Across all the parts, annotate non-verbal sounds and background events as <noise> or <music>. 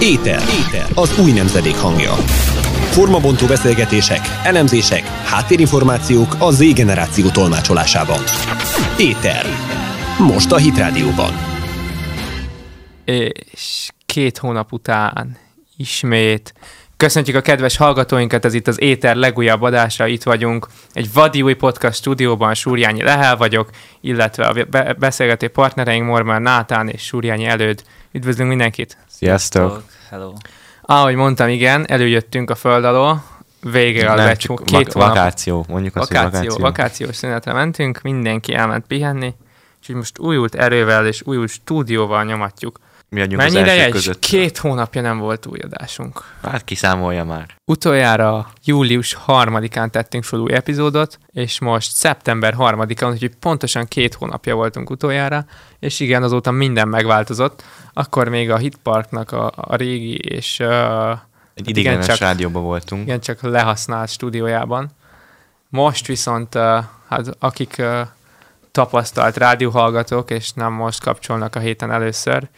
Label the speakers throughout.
Speaker 1: Éter. Éter. Az új nemzedék hangja. Formabontó beszélgetések, elemzések, háttérinformációk a Z generáció tolmácsolásában. Éter. Most a Hitrádióban.
Speaker 2: És két hónap után ismét Köszöntjük a kedves hallgatóinkat, ez itt az Éter legújabb adása, itt vagyunk. Egy vadi új podcast stúdióban Súrjányi Lehel vagyok, illetve a be- beszélgető partnereink Mormár Nátán és Súrjányi Előd. Üdvözlünk mindenkit!
Speaker 3: Sziasztok!
Speaker 4: Hello.
Speaker 2: Ahogy mondtam, igen, előjöttünk a föld alól, végre az
Speaker 3: Nem,
Speaker 2: egy
Speaker 3: csak
Speaker 2: hó-
Speaker 3: vak-
Speaker 2: két hónap.
Speaker 3: Vakáció, mondjuk azt,
Speaker 2: vakáció,
Speaker 3: hogy vakáció.
Speaker 2: vakációs szünetre mentünk, mindenki elment pihenni, és így most újult erővel és újult stúdióval nyomatjuk.
Speaker 3: Mi adjunk
Speaker 2: Mennyi
Speaker 3: az
Speaker 2: ideje?
Speaker 3: első
Speaker 2: És
Speaker 3: között?
Speaker 2: két hónapja nem volt új adásunk.
Speaker 3: Hát kiszámolja már.
Speaker 2: Utoljára július 3-án tettünk fel új epizódot, és most szeptember 3-án, úgyhogy pontosan két hónapja voltunk utoljára, és igen, azóta minden megváltozott. Akkor még a Hitparknak a, a régi és uh,
Speaker 3: Egy
Speaker 2: igen,
Speaker 3: ideiglenes
Speaker 2: csak-
Speaker 3: rádióban voltunk.
Speaker 2: igen, csak lehasznált stúdiójában. Most viszont, uh, hát akik uh, tapasztalt rádióhallgatók, és nem most kapcsolnak a héten először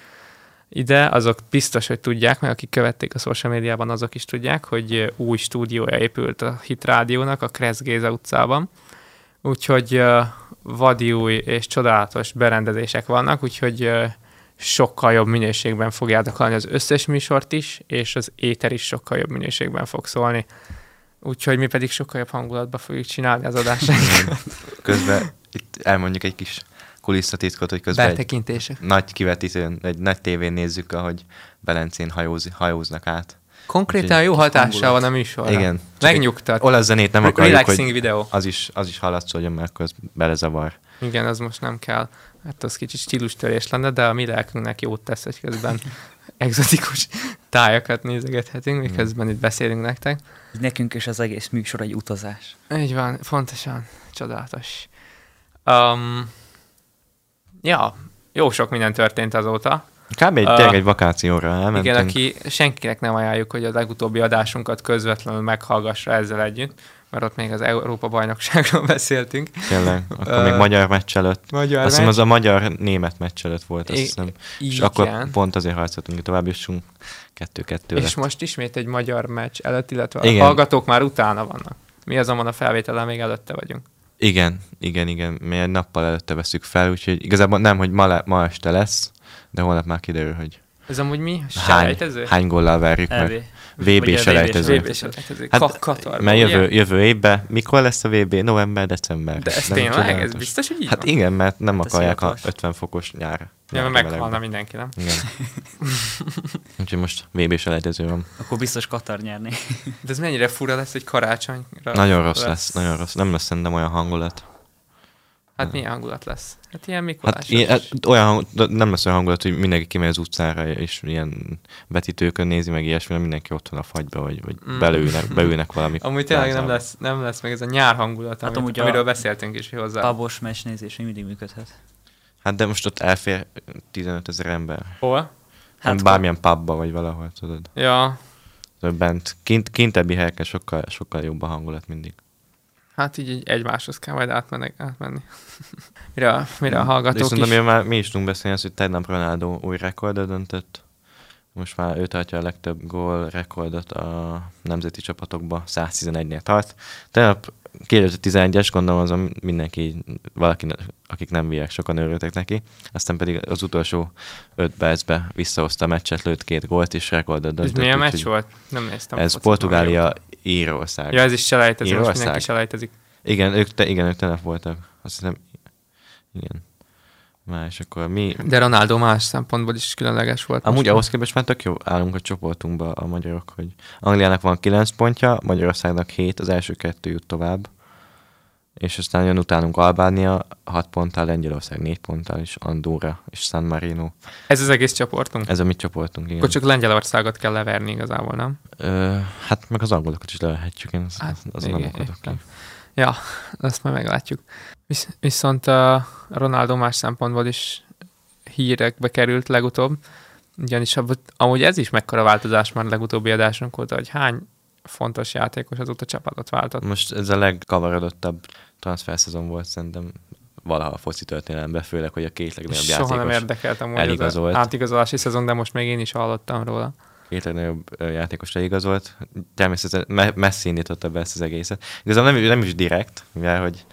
Speaker 2: ide, azok biztos, hogy tudják, mert akik követték a social médiában, azok is tudják, hogy ö, új stúdiója épült a Hit Rádiónak a Kressz Géza utcában. Úgyhogy uh, vadi új és csodálatos berendezések vannak, úgyhogy uh, sokkal jobb minőségben fogjátok hallani az összes műsort is, és az éter is sokkal jobb minőségben fog szólni. Úgyhogy mi pedig sokkal jobb hangulatban fogjuk csinálni az
Speaker 3: <laughs>
Speaker 2: adásainkat.
Speaker 3: Közben itt elmondjuk egy kis kulisszatitkot, hogy közben egy
Speaker 2: Betekintések.
Speaker 3: nagy kivetítőn, egy nagy tévén nézzük, ahogy Belencén hajóz, hajóznak át.
Speaker 2: Konkrétan
Speaker 3: Úgyhogy
Speaker 2: jó hatással
Speaker 4: hangulat.
Speaker 2: van a műsorra.
Speaker 3: Igen. Csak egy
Speaker 2: Megnyugtat.
Speaker 3: Hát Olasz zenét nem
Speaker 2: Re-
Speaker 3: akarjuk,
Speaker 2: relaxing
Speaker 3: hogy
Speaker 2: videó.
Speaker 3: az is, az is hallatszódjon, mert akkor az belezavar.
Speaker 2: Igen, az most nem kell. Hát az kicsit stílustörés lenne, de a mi lelkünknek jót tesz, hogy
Speaker 3: <laughs>
Speaker 2: közben egzotikus tájakat nézegethetünk, miközben itt beszélünk nektek.
Speaker 4: Így nekünk is az egész műsor egy utazás.
Speaker 2: Így van, fontosan, csodálatos. Um, ja, jó sok minden történt azóta.
Speaker 3: Kb. egy,
Speaker 2: Ah.
Speaker 3: tényleg egy vakációra elmentünk.
Speaker 2: Igen, aki senkinek nem ajánljuk, hogy a legutóbbi adásunkat közvetlenül meghallgassa ezzel együtt, mert ott még az Európa-bajnokságról <laughs> beszéltünk.
Speaker 3: Tényleg, akkor még
Speaker 2: Ah.
Speaker 3: magyar meccs előtt.
Speaker 2: Magyar
Speaker 3: Azt
Speaker 2: meccs.
Speaker 3: hiszem az a magyar-német meccs előtt volt, azt
Speaker 2: I-
Speaker 3: hiszem. És
Speaker 2: igen.
Speaker 3: akkor pont azért harcoltunk, hogy tovább jussunk. Kettő-kettő
Speaker 2: És
Speaker 3: lett.
Speaker 2: most ismét egy magyar meccs előtt, illetve
Speaker 3: Igen.
Speaker 2: a hallgatók már utána vannak. Mi azonban a felvételen még előtte vagyunk.
Speaker 3: Igen, igen, igen. Mi egy nappal előtte veszük fel, úgyhogy igazából nem, hogy ma, le, ma este lesz, de holnap már kiderül, hogy
Speaker 2: Ez amúgy mi?
Speaker 3: hány,
Speaker 2: Selejtező?
Speaker 3: hány gollal verjük
Speaker 4: EB.
Speaker 3: meg.
Speaker 4: Vagy a
Speaker 3: VB
Speaker 4: VB
Speaker 3: selejtező.
Speaker 2: VB selejtező. Ka-
Speaker 3: Hát,
Speaker 2: Katarban,
Speaker 3: mert
Speaker 2: ugye?
Speaker 3: jövő, jövő évben, mikor lesz a VB? November, december.
Speaker 2: De ez
Speaker 3: Nem
Speaker 2: tényleg? Ez
Speaker 3: csodálatos.
Speaker 2: biztos, hogy így
Speaker 3: Hát
Speaker 2: van?
Speaker 3: igen, mert nem akarják a
Speaker 4: szivatos.
Speaker 3: 50 fokos nyár.
Speaker 2: Ja, mert
Speaker 3: nyár
Speaker 2: meghalna
Speaker 3: melegben.
Speaker 2: mindenki, nem?
Speaker 3: Igen.
Speaker 2: <laughs>
Speaker 3: Úgyhogy most VB selejtező van.
Speaker 4: Akkor biztos Katar nyerni.
Speaker 2: De ez mennyire fura lesz, hogy karácsonyra
Speaker 3: Nagyon rossz lesz, nagyon rossz. Nem lesz szerintem olyan hangulat.
Speaker 2: Hát milyen hangulat lesz? Hát ilyen
Speaker 3: Hát,
Speaker 2: Mikulásos.
Speaker 3: ilyen, hát olyan hang, de nem lesz olyan hangulat, hogy mindenki kimegy az utcára, és ilyen vetítőkön nézi meg ilyesmi, hanem mindenki ott van a fagyba, vagy, vagy
Speaker 2: Mm.
Speaker 3: belülnek, beülnek valami.
Speaker 2: <laughs> Amúgy tényleg nem
Speaker 3: plázába.
Speaker 2: lesz, nem lesz meg ez a nyár hangulat,
Speaker 4: Hát
Speaker 2: amit,
Speaker 4: amúgy a-
Speaker 2: amiről beszéltünk is hogy hozzá.
Speaker 4: Pabos meccs nézés még mindig működhet.
Speaker 3: Hát de most ott elfér 15 ezer ember.
Speaker 2: Hol?
Speaker 3: Hát bármilyen pubba, vagy valahol, tudod.
Speaker 2: Ja,
Speaker 3: Tudod, Bent, kint, kintebbi helyeken sokkal, sokkal jobb a hangulat mindig.
Speaker 2: hát így, így egymáshoz kell majd átmenni. átmenni. <laughs> mire, a, mire a
Speaker 3: De
Speaker 2: hallgatók
Speaker 3: viszont
Speaker 2: is...
Speaker 3: amiről már mi is tudunk beszélni, az, hogy tegnap Ronaldo új rekordra döntött. Most már ő tartja a legtöbb gól rekordot a nemzeti csapatokba, 111-nél tart. Tegnap 2011-es, gondolom azon mindenki, valaki, akik nem viek, sokan örültek neki. Aztán pedig az utolsó 5 percbe visszahozta a meccset, lőtt két gólt és rekordot
Speaker 2: Ez
Speaker 3: döntött.
Speaker 2: milyen
Speaker 3: úgyhogy
Speaker 2: meccs volt? Nem néztem. a
Speaker 3: Ez
Speaker 2: focit, nem vagyok.
Speaker 3: Portugália, Írország.
Speaker 2: Ja, ez is selejtező, most
Speaker 3: Írország.
Speaker 2: mindenki selejtezik.
Speaker 3: Igen, ők, te, igen, ők telep voltak. Azt hiszem, igen. Már és akkor mi,
Speaker 2: De Ronaldo más szempontból is különleges volt.
Speaker 3: Amúgy
Speaker 2: most.
Speaker 3: ahhoz képest már tök jó állunk a csoportunkba a magyarok, hogy Angliának van 9 pontja, Magyarországnak 7, az első kettő jut tovább, és aztán jön utánunk Albánia 6 ponttal, Lengyelország 4 ponttal, és Andorra és San Marino.
Speaker 2: Ez az egész csoportunk?
Speaker 3: Ez a mi csoportunk, igen.
Speaker 2: Akkor csak Lengyelországot kell leverni igazából, nem?
Speaker 3: Ö, hát meg az angolokat is lehetjük, én az,
Speaker 2: Hát,
Speaker 3: az, azon nem
Speaker 2: igen,
Speaker 3: akadok ki.
Speaker 2: értem. Ja, <laughs> azt majd meglátjuk. Visz, viszont a Ronaldo más szempontból is hírekbe került legutóbb, ugyanis ab- amúgy ez is mekkora változás már legutóbbi adásunk óta, hogy hány fontos játékos azóta csapatot váltott.
Speaker 3: Most ez a legkavarodottabb transferszezon volt szerintem valaha a foci történelemben, főleg, hogy a két legnagyobb
Speaker 2: Soha nem
Speaker 3: játékos,
Speaker 2: érdekeltem úgy az
Speaker 3: eligazolt.
Speaker 2: átigazolási szezon, de most még én is hallottam róla.
Speaker 3: két legnagyobb ö, játékos leigazolt. Természetesen me- Messi indította be ezt az egészet. Igazából nem, nem is direkt, mivel hogy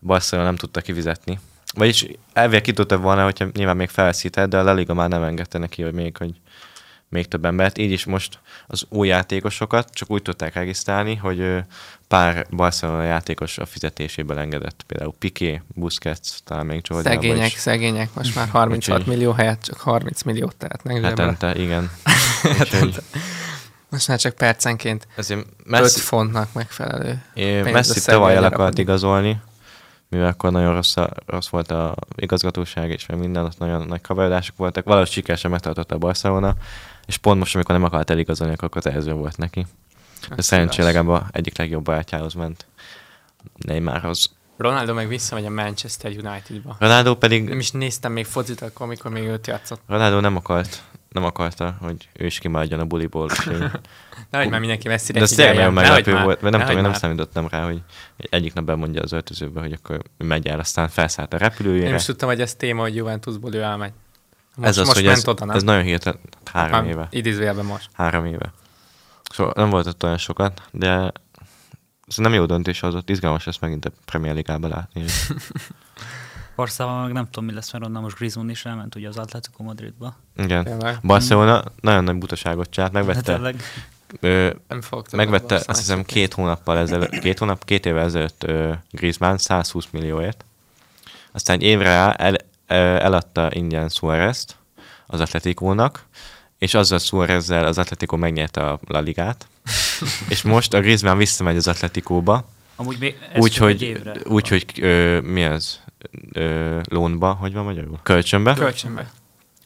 Speaker 3: Barcelona nem tudta kifizetni. Vagyis elvileg ki tudta volna, hogyha nyilván még felszített, de a La Liga már nem engedte neki, hogy még, hogy még több embert. Így is most az új játékosokat csak úgy tudták regisztrálni, hogy ö, pár Barcelona játékos a fizetéséből engedett. Például Piqué, Busquets, talán még Jordan.
Speaker 2: Szegények, szegények, most már 36
Speaker 3: Úgyhogy-
Speaker 2: millió helyett csak 30 milliót tehetnek zsebre.
Speaker 3: Hetente, igen. Úgyhogy
Speaker 2: Most már csak percenként
Speaker 3: Ezért
Speaker 2: 5
Speaker 3: Messi,
Speaker 2: fontnak megfelelő.
Speaker 3: Én
Speaker 2: pénzt
Speaker 3: Messi
Speaker 2: összegben
Speaker 3: tavaly el
Speaker 2: lerakod.
Speaker 3: akart igazolni, mivel akkor nagyon rossz, a, rossz volt a igazgatóság, és meg minden, ott nagyon nagy kavarodások voltak. Valahogy sikeresen megtartotta a Barcelona, és pont most, amikor nem akart eligazolni, akkor kötelező volt neki.
Speaker 2: Hát
Speaker 3: De szerencsére legalább a egyik legjobb barátjához ment, Neymarhoz.
Speaker 2: Ronaldo meg visszamegy a Manchester Unitedba.
Speaker 3: Ronaldo
Speaker 2: Nem
Speaker 3: pedig,
Speaker 2: is néztem még focit akkor, amikor még őt játszott.
Speaker 3: Ronaldo nem akart, nem akarta, hogy ő is kimaradjon a buliból.
Speaker 2: <laughs>
Speaker 3: úgyhogy-
Speaker 2: Nehogy már mindenki messzire
Speaker 3: De ez tényleg nagyon
Speaker 2: figyeljen. Nehogy
Speaker 3: meglepő
Speaker 2: már,
Speaker 3: volt, mert nem
Speaker 2: nehogy
Speaker 3: tudom, én nem
Speaker 2: már.
Speaker 3: számítottam rá, hogy egyik nap bemondja az öltözőbe, hogy akkor megy el, aztán felszállt a repülőjére.
Speaker 2: Én is tudtam, hogy ez téma, hogy Juventusból ő elmegy. Most,
Speaker 3: ez az,
Speaker 2: most
Speaker 3: hogy
Speaker 2: ment
Speaker 3: ez,
Speaker 2: oda, nem?
Speaker 3: ez nagyon hirtelen, hát három
Speaker 2: Már
Speaker 3: éve.
Speaker 2: Idézőjelben most.
Speaker 3: Három éve. Szóval nem volt ott olyan sokat, de ez nem jó döntés hozott, izgalmas ezt megint a Premier Ligában látni.
Speaker 2: <laughs>
Speaker 4: Barszában meg nem tudom, mi lesz, mert onnan most Griezmann is elment ugye az Atletico Madridba.
Speaker 3: Igen.
Speaker 2: Tényleg.
Speaker 3: Barcelona nagyon nagy butaságot csinált,
Speaker 4: Hát
Speaker 3: megvette,
Speaker 4: tényleg.
Speaker 3: ö,
Speaker 2: Nem fogok
Speaker 4: Szóval
Speaker 2: többet
Speaker 3: megvette
Speaker 2: Barcelonát
Speaker 3: azt hiszem
Speaker 2: nézni.
Speaker 3: két hónappal ezelőtt, két hónap, két évvel ezelőtt ö, Griezmann 120 millióért. Aztán egy évre rá el, ö, eladta ingyen Suárez-t az Atletikónak, és azzal Suárez-zel az Atletico megnyerte a La
Speaker 4: <laughs>
Speaker 3: Ligát, és most a Griezmann visszamegy az Atletikóba,
Speaker 4: Amúgy még ez csak egy
Speaker 3: úgyhogy
Speaker 4: évre.
Speaker 3: úgy, hogy, ö, mi ez, ö, lónba, hogy van magyarul? Kölcsönbe.
Speaker 2: Kölcsönbe.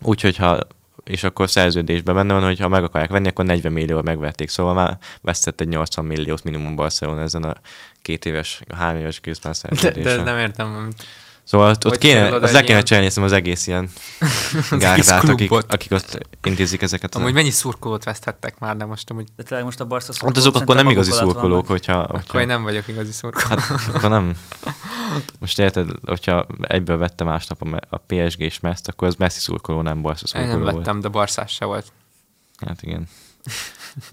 Speaker 3: Úgyhogy ha és akkor szerződésben benne van, hogy ha meg akarják venni, akkor 40 millió megverték. Szóval már vesztett egy 80 milliót minimum Barcelona ezen a két éves, három éves közben
Speaker 2: De, de
Speaker 3: szerződésen.
Speaker 2: ezt nem értem. amit-
Speaker 3: Szóval ott, ott
Speaker 2: Hogy
Speaker 3: kéne,
Speaker 2: csinálod
Speaker 3: az le
Speaker 2: egy
Speaker 3: kéne
Speaker 2: ilyen-
Speaker 3: csinálni hiszem, az
Speaker 2: <laughs>
Speaker 3: egész ilyen gárdát, akik,
Speaker 2: klubot.
Speaker 3: akik ott intézik ezeket.
Speaker 2: Amúgy
Speaker 3: Amúgy
Speaker 2: mennyi szurkolót vesztettek már, de most amúgy
Speaker 4: De tényleg most a Barca
Speaker 3: ott
Speaker 4: szurkolók
Speaker 3: Hát azok akkor nem
Speaker 4: szerintem maguk
Speaker 3: igazi
Speaker 4: alatt
Speaker 3: szurkolók,
Speaker 4: vannak.
Speaker 3: hogyha...
Speaker 2: akkor
Speaker 3: hogyha
Speaker 2: én nem vagyok igazi szurkoló.
Speaker 3: Hát akkor
Speaker 2: <laughs>
Speaker 3: nem. Most érted, hogyha egyből vette másnap a, me- a PSG-s mezt, akkor az Messi szurkoló, nem Barca
Speaker 2: Én
Speaker 3: szurkoló
Speaker 2: nem
Speaker 3: volt.
Speaker 2: vettem, de barszás se volt.
Speaker 3: Hát igen.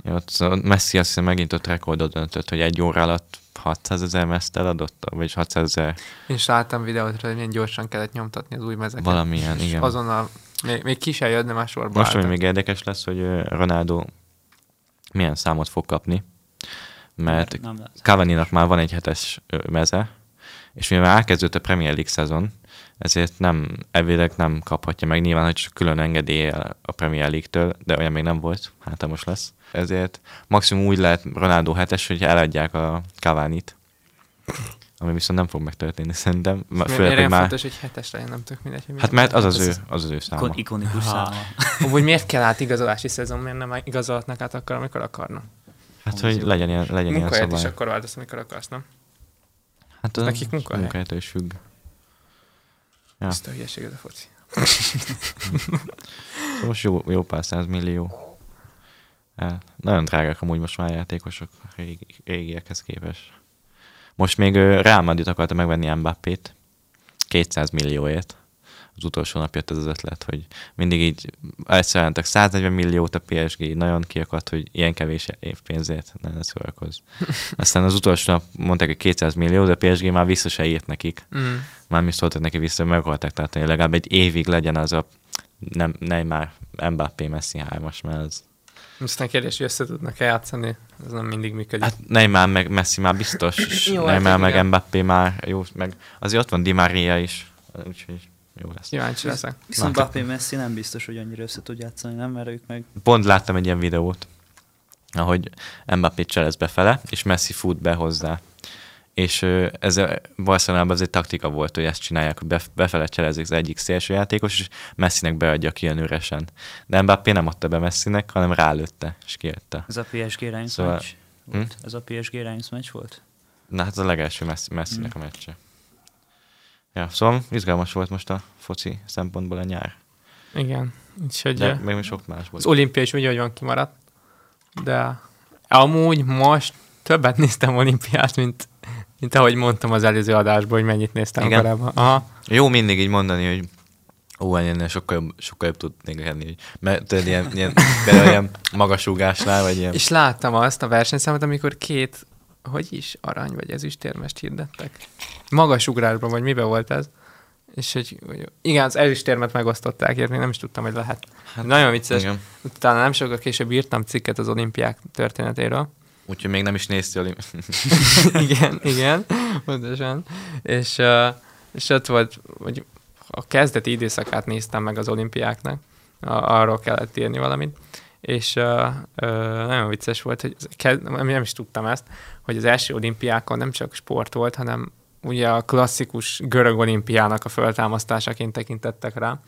Speaker 3: Ja, ott, szóval Messi azt hiszem megint ott rekordot döntött, hogy egy óra alatt 600 ezer mezt eladott, vagy 600 ezer
Speaker 2: Én is láttam videót, hogy milyen gyorsan kellett nyomtatni az új mezeket.
Speaker 3: valamilyen,
Speaker 2: És
Speaker 3: igen.
Speaker 2: azonnal, még, még ki se jött, de már sorba
Speaker 3: Most, ami
Speaker 2: álltak.
Speaker 3: még érdekes lesz, hogy ö, Ronaldo milyen számot fog kapni, mert
Speaker 4: Nem lehet.
Speaker 3: Cavani-nak már van egy hetes ö, meze, és mivel elkezdődött a Premier League szezon, ezért nem, elvileg nem kaphatja meg, nyilván, hogy csak külön engedélye a Premier League-től, de olyan még nem volt, hát ha most lesz. Ezért maximum úgy lehet Ronaldo hetes, hogy eladják a Cavani-t, ami viszont nem fog megtörténni szerintem,
Speaker 2: Mi-
Speaker 3: m-
Speaker 2: Miért
Speaker 3: főleg, hogy
Speaker 2: olyan
Speaker 3: már...
Speaker 2: fontos, hogy hetes legyen, nem tök mindegy. hogy
Speaker 3: Hát
Speaker 2: milyen.
Speaker 3: mert az az,
Speaker 2: Ez-
Speaker 3: ő, az, az ő száma.
Speaker 4: Ikon- Ikonikus száma.
Speaker 2: Amúgy miért kell át igazolási szezon, miért nem igazolhatnak át akkor, amikor akarnak?
Speaker 3: Hát, hogy legyen ilyen, legyen ilyen
Speaker 2: Munkahelyet is
Speaker 3: szabály.
Speaker 2: akkor változ, amikor akarsz, nem?
Speaker 3: Hát
Speaker 2: az
Speaker 3: az
Speaker 2: nekik munkahely.
Speaker 3: Munkahelytől is függ. Ja.
Speaker 2: Ezt a hülyeség ez a foci.
Speaker 3: Szóval Most jó, jó pár millió. El. Nagyon drágák amúgy most már a játékosok régi, régiekhez képest. Most még ö, Real Madrid akarta megvenni Mbappét 200 millióért. Az utolsó nap jött ez az ötlet, hogy mindig így elszereltek 140 milliót a PSG, nagyon ki akart, hogy ilyen kevés év pénzért ne, ne szórakozz. Aztán az utolsó nap mondták, hogy 200 millió, de a PSG már vissza se írt nekik.
Speaker 2: Mm.
Speaker 3: Mármint szóltak neki vissza, meg akarták tartani, hogy legalább egy évig legyen az a nem, nem már Mbappé Messi hármas, mert az...
Speaker 2: Aztán kérdés, hogy össze tudnak-e játszani, ez nem mindig működik. Hát,
Speaker 3: Hát Neymar meg Messi már biztos, és
Speaker 2: Jó,
Speaker 3: Neymar
Speaker 2: hát
Speaker 3: meg
Speaker 2: igen.
Speaker 3: Mbappé már jó, meg azért ott van Di Maria is, úgyhogy jó lesz.
Speaker 2: Kíváncsi leszek.
Speaker 4: Viszont
Speaker 3: Na. hát- Szóval-
Speaker 4: Bappé Messi nem biztos, hogy annyira össze tud játszani, nem? Mert ők meg
Speaker 3: Pont láttam egy ilyen videót, ahogy Mbappé cselez befele, és Messi fut be hozzá. És ö, ez a- Barcelonában ez egy taktika volt, hogy ezt csinálják, hogy bef- befele cselezik az egyik szélső játékos, és Messinek beadja ki ilyen üresen. De Mbappé nem adta be Messinek, hanem rálőtte, és kiadta.
Speaker 4: ez a PSG Reims
Speaker 3: Szóval-
Speaker 4: meccs volt. Ez a PSG Reims meccs volt?
Speaker 3: Na hát ez a legelső Messi- Messinek a meccse. Ja, szóval izgalmas volt most a foci szempontból a nyár.
Speaker 2: Igen, úgyhogy...
Speaker 3: De
Speaker 2: eh,
Speaker 3: még sok más
Speaker 2: Az
Speaker 3: volt.
Speaker 2: olimpia is úgy, ahogy van kimaradt. De amúgy most többet néztem olimpiát, mint Mint ahogy mondtam az előző adásban, hogy mennyit néztem
Speaker 3: Igen.
Speaker 2: Igen. korábban. Aha.
Speaker 3: Jó mindig így mondani, hogy ó, hát ennél sokkal jobb, sokkal jobb tudnék lenni. így. Mert tudod, ilyen, ilyen, például ilyen magasúgásnál, vagy ilyen.
Speaker 2: És láttam azt a versenyszámot, amikor két, hogy is, arany vagy ezüstérmest hirdettek. Magas ugrásban, vagy miben volt ez? És hogy, hogy- igen, az ezüstérmet megosztották, én még nem is tudtam, hogy lehet. Hát, Nagyon vicces. Igen.
Speaker 3: Igen.
Speaker 2: Utána nem sokkal később írtam cikket az olimpiák történetéről.
Speaker 3: Úgyhogy még nem is nézti a lim-
Speaker 2: <laughs> igen, igen, pontosan. És, uh, és ott volt, hogy a kezdeti időszakát néztem meg az olimpiáknak, a, arról kellett írni valamit, és uh, uh, nagyon vicces volt, hogy az kez, nem nem is tudtam ezt, hogy az első olimpiákon nem csak sport volt, hanem ugye a klasszikus görög olimpiának a föltámasztásaként tekintettek rá,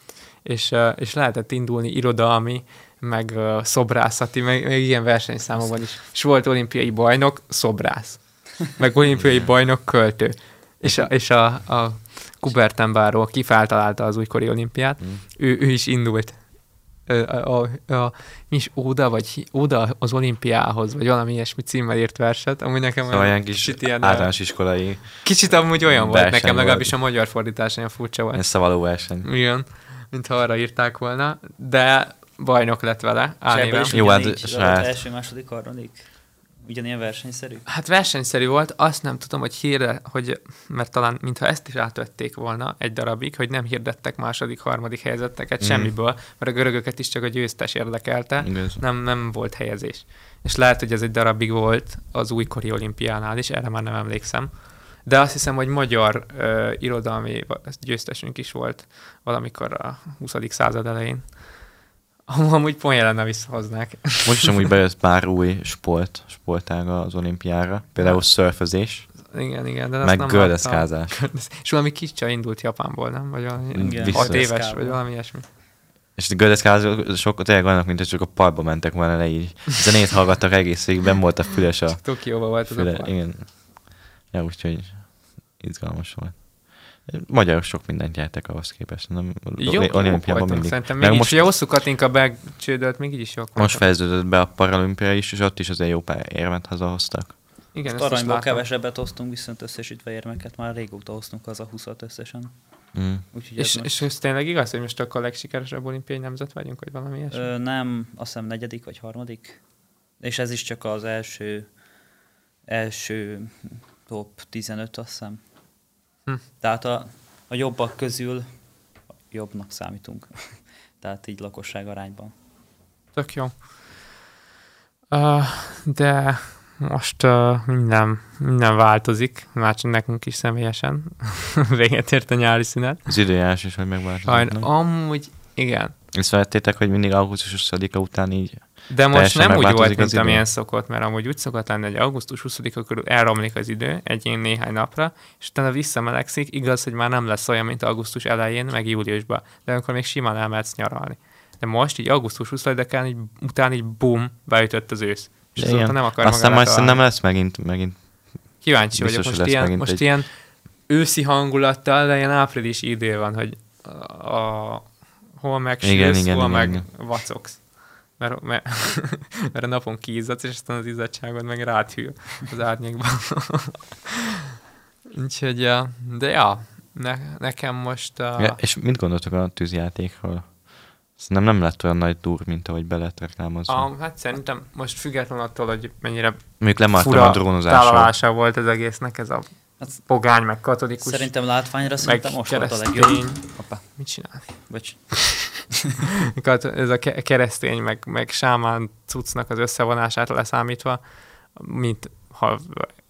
Speaker 2: és, uh, és lehetett indulni irodalmi, meg uh, szobrászati, meg, meg ilyen versenyszámokban is. És volt olimpiai bajnok, szobrász meg olimpiai bajnok költő. És a, és a, a Kuberten báró, aki feltalálta az újkori olimpiát, mm. ő, ő is indult. Ö, A, a, a, mi is Óda, vagy Óda az olimpiához, vagy valami ilyesmi címmel írt verset, ami nekem
Speaker 3: <laughs> szóval
Speaker 2: olyan
Speaker 3: ilyen kis
Speaker 2: kicsit ilyen,
Speaker 3: általános iskolai
Speaker 2: kicsit amúgy olyan volt
Speaker 3: verseny
Speaker 2: nekem,
Speaker 3: volt.
Speaker 2: legalábbis a magyar fordítás olyan furcsa volt.
Speaker 3: szavaló verseny.
Speaker 2: Igen, mintha arra írták volna, de bajnok lett vele, álnéven.
Speaker 3: is Jó, hát saját.
Speaker 4: első, második, harmadik. Ugyanilyen versenyszerű.
Speaker 2: Hát versenyszerű volt, azt nem tudom, hogy hírre, hogy, mert talán mintha ezt is átvették volna egy darabig, hogy nem hirdettek második, harmadik helyzeteket
Speaker 3: Mhm.
Speaker 2: mm. semmiből, mert a görögöket is csak a győztes érdekelte,
Speaker 3: Igaz.
Speaker 2: nem, nem volt helyezés. És lehet, hogy ez egy darabig volt az újkori olimpiánál is, erre már nem emlékszem. De azt hiszem, hogy magyar ö, irodalmi va- győztesünk is volt valamikor a 20. század elején. Am- Amúgy pont jelenne visszahoznák.
Speaker 3: Most is amúgy bejött pár új sport, sportága az olimpiára. Például szörfözés,
Speaker 2: igen, igen, Hát, de azt
Speaker 3: meg
Speaker 2: nem láttam.
Speaker 3: gördeszkázás.
Speaker 2: És valami kis csaj indult Japánból, nem? Vagy valami
Speaker 3: Igen.
Speaker 2: hat
Speaker 3: Vissza.
Speaker 2: éves, vagy valami ilyesmi.
Speaker 3: És a gördeszkázások sok tényleg olyanok, mint hogy csak a parkba mentek volna le így. Zenét hallgattak egész végig, benn volt a füles a...
Speaker 2: Tokióban volt az
Speaker 3: Füle,
Speaker 2: a igen.
Speaker 3: igen. Ja, úgyhogy izgalmas volt. Magyarok sok mindent jártak ahhoz képest. Nem,
Speaker 2: Jó,
Speaker 3: olimpiában
Speaker 2: mindig.
Speaker 3: mindig.
Speaker 2: Szerintem
Speaker 3: Meg
Speaker 2: mégis,
Speaker 3: most,
Speaker 2: ugye hosszú Katinka becsődölt, még így is jók
Speaker 3: most
Speaker 2: voltak.
Speaker 3: fejeződött be a paralimpia is, és ott is azért jó pár érmet hazahoztak.
Speaker 2: Igen, ezt is
Speaker 4: Aranyból
Speaker 2: látom.
Speaker 4: kevesebbet hoztunk, viszont összesítve érmeket már régóta hoztunk az a 20 összesen.
Speaker 3: Mm.
Speaker 4: Úgyhogy ez
Speaker 2: És,
Speaker 4: most-
Speaker 2: és ez tényleg igaz, hogy most akkor a legsikeresebb olimpiai nemzet vagyunk, vagy valami ilyesmi?
Speaker 4: Ö, nem, azt hiszem negyedik vagy harmadik. És ez is csak az első, első top 15, azt hiszem.
Speaker 2: Hm.
Speaker 4: Tehát a, a jobbak közül jobbnak számítunk. <laughs> Tehát így lakosság arányban.
Speaker 2: Tök jó. Uh, de most uh, minden, minden változik, már csak nekünk is személyesen. <laughs> Véget ért a nyári szünet.
Speaker 3: Az időjárás is, hogy megváltozott.
Speaker 2: Sajn,
Speaker 3: nem?
Speaker 2: amúgy igen,
Speaker 3: Ezt vettétek, hogy mindig augusztus 20-a után így
Speaker 2: De most
Speaker 3: Teljesen
Speaker 2: nem úgy
Speaker 3: megváltozik
Speaker 2: volt,
Speaker 3: az
Speaker 2: mint
Speaker 3: idő.
Speaker 2: amilyen szokott, mert amúgy úgy szokott lenni, hogy augusztus 20-a körül elromlik az idő egy ilyen néhány napra, és utána visszamelegszik, igaz, hogy már nem lesz olyan, mint augusztus elején, meg júliusban, de akkor még simán elmehetsz nyaralni. De most így augusztus 20-án így, után így bum, beütött az ősz. És
Speaker 3: De
Speaker 2: azóta
Speaker 3: igen.
Speaker 2: nem akar
Speaker 3: Aztán
Speaker 2: magára
Speaker 3: majd szerintem
Speaker 2: találni.
Speaker 3: lesz megint, megint.
Speaker 2: Kíváncsi
Speaker 3: biztos,
Speaker 2: vagyok, most,
Speaker 3: hogy lesz
Speaker 2: ilyen,
Speaker 3: megint
Speaker 2: most
Speaker 3: egy-
Speaker 2: ilyen őszi hangulattal, de ilyen áprilisi idő van, hogy a, a, hol meg
Speaker 3: Igen,
Speaker 2: sülsz,
Speaker 3: igen,
Speaker 2: hol
Speaker 3: igen,
Speaker 2: meg
Speaker 3: igen.
Speaker 2: vacogsz. Mert, mert, <laughs> mert a napon kiizzadsz, és aztán az izzadságod meg rád hűl az árnyékban. <laughs> Úgyhogy, ja, de ja, ne, nekem most... A,
Speaker 3: Ja, és mit gondoltok a tűzjátékról? Szerintem nem lett olyan nagy dur, mint ahogy be lett reklámozva.
Speaker 2: a, hát szerintem most független attól, hogy mennyire
Speaker 3: Mondjuk lemartam a
Speaker 2: fura
Speaker 3: drónozásról.
Speaker 2: tálalása volt az egésznek ez a
Speaker 4: Hát
Speaker 2: pogány, meg katolikus.
Speaker 4: szerintem látványra
Speaker 2: meg
Speaker 4: szerintem most volt a legjobb.
Speaker 2: keresztény.
Speaker 4: Hoppá,
Speaker 2: Mit csinál?
Speaker 4: bocs.
Speaker 2: Kat- ez a ke- keresztény, meg, meg sámán cuccnak az összevonását leszámítva, mint ha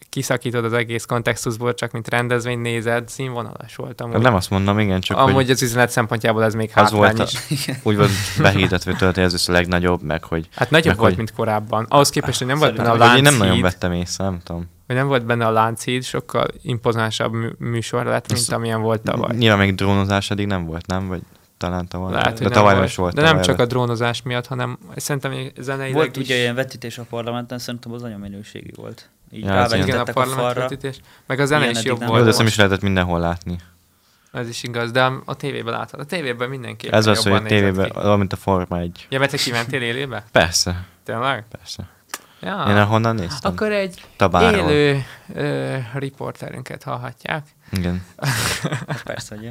Speaker 2: kiszakítod az egész kontextusból, csak mint rendezvény nézed, színvonalas volt amúgy.
Speaker 3: Hát Nem azt mondom, igen, csak
Speaker 2: amúgy
Speaker 3: hogy
Speaker 2: az üzlet szempontjából ez még
Speaker 3: az
Speaker 2: hátrány
Speaker 3: volt, a,
Speaker 2: is. <laughs>
Speaker 3: úgy volt behirdetve tőled, hogy ez lesz a legnagyobb, meg hogy
Speaker 2: Hát nagyobb
Speaker 3: meg
Speaker 2: volt,
Speaker 3: hogy-
Speaker 2: mint korábban. Ahhoz képest, hogy nem volt benne a
Speaker 3: Na, hogy én nem nagyon
Speaker 2: Lánchíd,
Speaker 3: vettem észre, nem tudom.
Speaker 2: hogy nem volt benne a Lánchíd, sokkal impozánsabb mű- műsor lett, mint amilyen volt tavaly.
Speaker 3: Nyilván még drónozás eddig nem volt, nem? Vagy talán tavaly.
Speaker 2: Lehet,
Speaker 3: de
Speaker 2: hogy nem
Speaker 3: tavaly
Speaker 2: volt.
Speaker 3: is volt.
Speaker 2: De nem
Speaker 3: tavaly
Speaker 2: csak a
Speaker 3: lett.
Speaker 2: drónozás miatt, hanem szerintem zeneileg
Speaker 4: Volt
Speaker 2: is...
Speaker 4: ugye ilyen vetítés a parlamenten, szerintem az nagyon minőségi volt. Így
Speaker 3: Ja,
Speaker 4: ja,
Speaker 3: az ilyen.
Speaker 2: igen, a
Speaker 4: rávetítettek a, a falra.
Speaker 2: parlamentvetítés. Meg a zene
Speaker 4: Ilyen
Speaker 2: is
Speaker 4: eddig
Speaker 2: jobb
Speaker 4: nem
Speaker 2: volt.
Speaker 3: Jó, de azt
Speaker 2: most.
Speaker 3: nem is lehetett mindenhol látni.
Speaker 2: Ez is igaz, de a tévében látod. A tévében mindenképpen
Speaker 3: Ez az, hogy
Speaker 2: jobban
Speaker 3: a
Speaker 2: nézett
Speaker 3: tévében,
Speaker 2: ki.
Speaker 3: valamint a Forma egy.
Speaker 2: Ja, mert te kimentél élőbe?
Speaker 3: Persze,
Speaker 2: Tényleg?
Speaker 3: persze.
Speaker 2: Ja.
Speaker 3: Én ahonnan néztem.
Speaker 2: Akkor egy
Speaker 3: Tabáról.
Speaker 2: élő ö, riporterünket hallhatják,
Speaker 3: Igen.
Speaker 4: Hát Persze, hogy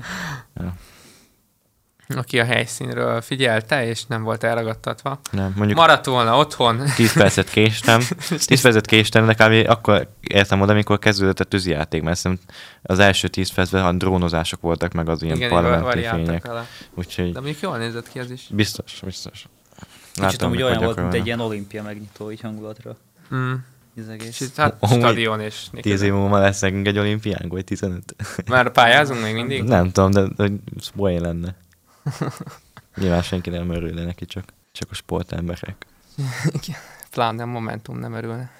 Speaker 2: aki a helyszínről figyelte, és nem volt elragadtatva.
Speaker 3: Nem, mondjuk
Speaker 2: Maradt volna otthon.
Speaker 3: 10
Speaker 2: <laughs>
Speaker 3: percet késtem, 10 percet késtem, de kb. akkor értem oda, amikor kezdődött a tűzijáték, mert szerintem az első 10 percben a drónozások voltak, meg az ilyen
Speaker 2: Igen,
Speaker 3: parlamenti
Speaker 2: variáltak
Speaker 3: fények.
Speaker 2: vele. De
Speaker 3: Úgyhogy
Speaker 2: mondjuk jól nézett ki az is.
Speaker 3: biztos, biztos.
Speaker 4: Kicsit amúgy
Speaker 3: mikor
Speaker 4: olyan volt, mint
Speaker 3: gyakorolnak.
Speaker 4: egy ilyen olimpia megnyitó így hangulatra.
Speaker 2: Mm.
Speaker 4: Ez egész.
Speaker 2: Kicsit, hát
Speaker 3: Amúgy
Speaker 2: stadion és
Speaker 3: Tíz év múlva lesz nekünk egy olimpiánk, vagy 15?
Speaker 2: Már pályázunk még mindig?
Speaker 3: Nem tudom, de hogy ez
Speaker 2: <laughs>
Speaker 3: poén lenne. Nyilván senki nem örülne neki, csak, csak a sportemberek.
Speaker 2: Pláne a Momentum nem örülne.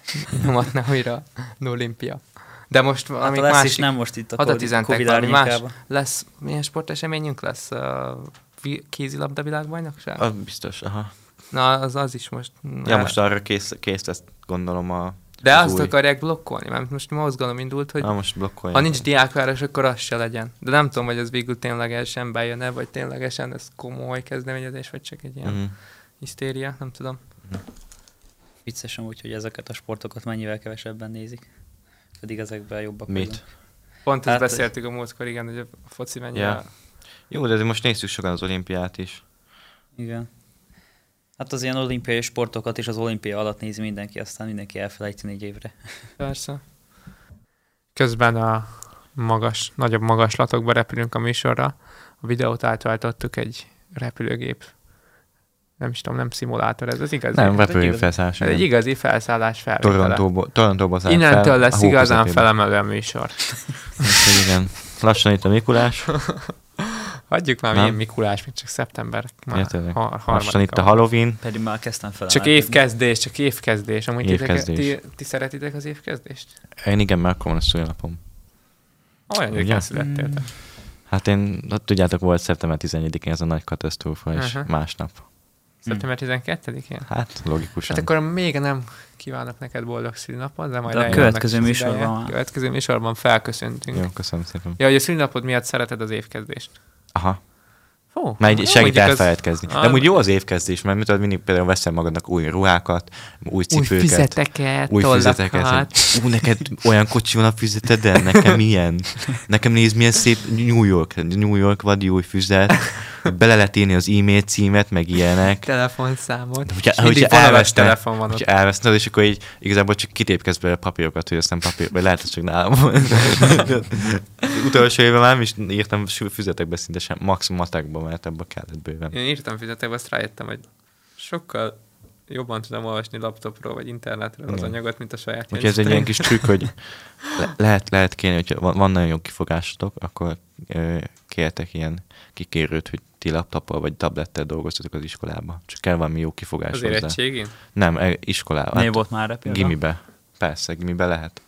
Speaker 2: Nyomatna újra az olimpia. De most
Speaker 4: Hát
Speaker 2: valami
Speaker 4: a lesz
Speaker 2: másik...
Speaker 4: is nem most itt a
Speaker 2: Oda
Speaker 4: Covid-
Speaker 2: tizentek
Speaker 4: Covid
Speaker 2: valami más.
Speaker 4: árnyékában.
Speaker 2: Lesz, milyen sporteseményünk lesz? A vi- kézilabda világbajnokság?
Speaker 3: Az biztos, aha.
Speaker 2: Na, az, az is most.
Speaker 3: Ja, most arra kész, kész ezt gondolom a...
Speaker 2: De
Speaker 3: az
Speaker 2: azt
Speaker 3: új.
Speaker 2: akarják blokkolni, mert most mozgalom indult, hogy
Speaker 3: Na, most blokkolja.
Speaker 2: ha nincs diákváros, akkor az se legyen. De nem tudom, hogy ez végül ténylegesen bejön-e, vagy ténylegesen ez komoly kezdeményezés, vagy csak egy ilyen
Speaker 3: Mhm.
Speaker 2: hisztéria, nem tudom.
Speaker 4: Vicces amúgy, hogy ezeket a sportokat mennyivel kevesebben nézik. Pedig ezekben jobbak
Speaker 3: Mit?
Speaker 4: vagyunk.
Speaker 2: Pont ezt
Speaker 4: Hát,
Speaker 2: beszéltük a múltkor, igen, hogy a foci mennyire...
Speaker 3: Ja. Jó, de azért most nézzük sokan az olimpiát is.
Speaker 4: Igen. Hát az ilyen olimpiai sportokat is az olimpia alatt nézi mindenki, aztán mindenki elfelejti négy évre. <laughs>
Speaker 2: Persze. Közben a magas, nagyobb magaslatokba repülünk a műsorra. A videót átváltottuk egy repülőgép. Nem is tudom, nem szimulátor, ez az igazi.
Speaker 3: Nem,
Speaker 4: egy
Speaker 3: repülő
Speaker 4: igazi-
Speaker 3: felszállás.
Speaker 2: Ez Hát egy
Speaker 3: igen.
Speaker 2: igazi felszállás felvétele.
Speaker 3: Torontóból, Torontóból szállt
Speaker 2: Innentől
Speaker 3: fel,
Speaker 2: lesz
Speaker 3: a hó
Speaker 2: igazán
Speaker 3: közepébe.
Speaker 2: felemelő a műsor.
Speaker 3: Úgyhogy Igen. Lassan itt a
Speaker 2: <laughs>
Speaker 3: Mikulás,
Speaker 2: Hagyjuk már,
Speaker 3: Nem?
Speaker 2: milyen Mikulás, még csak szeptember már
Speaker 3: Ja, tényleg.
Speaker 2: har- harmadika
Speaker 3: lassan itt a
Speaker 2: van.
Speaker 3: Halloween.
Speaker 4: Pedig már kezdtem fel.
Speaker 2: Csak évkezdés, csak évkezdés. Amúgy évkezdés.
Speaker 3: Évkezdés.
Speaker 2: Ti, ti, szeretitek az évkezdést?
Speaker 3: Én igen, mert akkor van a szülnapom.
Speaker 2: Olyan
Speaker 3: Ugye?
Speaker 2: gyöken születtél. te.
Speaker 3: Hát én, hát tudjátok, volt szeptember 11-én ez a nagy katasztrófa, és
Speaker 2: Aha.
Speaker 3: másnap.
Speaker 2: Szeptember 12-én?
Speaker 3: Hát, logikusan.
Speaker 2: Hát akkor még nem kívánok neked boldog szülinapot, de majd
Speaker 4: De a
Speaker 2: eljön annak
Speaker 4: következő
Speaker 2: is az
Speaker 4: műsorban
Speaker 2: ideje.
Speaker 4: már.
Speaker 2: következő műsorban felköszöntünk. Jó.
Speaker 3: Jó, köszönöm szépen.
Speaker 2: Ja, hogy a szülinapod miatt szereted az évkezdést.
Speaker 3: Aha.
Speaker 2: Ó,
Speaker 3: Mert így segít
Speaker 2: mondjuk az-
Speaker 3: elfeledkezni.
Speaker 2: Ah,
Speaker 3: De úgy jó az évkezdés, mert mit tudod, mindig például veszel magadnak új ruhákat, új
Speaker 2: új
Speaker 3: cipőket.
Speaker 2: füzeteket,
Speaker 3: új füzeteket.
Speaker 2: tollakat.
Speaker 3: hogy Ú, neked olyan kocsi van a füzeted, de nekem ilyen. Nekem nézd, milyen szép New York, New York vadi új füzet. Bele lehet írni az e-mail címet, meg ilyenek.
Speaker 2: telefonszámot.
Speaker 3: Hogyha,
Speaker 2: és mindig
Speaker 3: hogyha
Speaker 2: falves
Speaker 3: elveszne,
Speaker 2: telefon van ott.
Speaker 3: hogyha elveszne, és akkor így igazából csak kitépkezd belőle papírokat, hogy aztán papír, vagy lehet, hogy csak nálam van. <laughs> Utolsó évben már nem is írtam füzetekbe szinte sem, max matekba, mert ebbe kellett bőven.
Speaker 2: Én írtam füzetekbe, azt rájöttem, hogy sokkal jobban tudom olvasni laptopról vagy internetről az
Speaker 3: Igen.
Speaker 2: anyagot, mint a saját
Speaker 3: Úgyhogy ez egy ilyen kis trükk, hogy le- lehet, lehet kéne, hogyha van, van nagyon jó kifogásotok, akkor ö, kértek ilyen kikérőt, hogy ti laptoppal vagy tablettel dolgoztatok az iskolába. Csak kell valami jó kifogás
Speaker 2: Az
Speaker 3: hozzá.
Speaker 2: érettségén?
Speaker 3: Nem, e, iskolában.
Speaker 4: Hát, volt már erre példa? Hm.
Speaker 3: gimibe. Persze, gimibe lehet.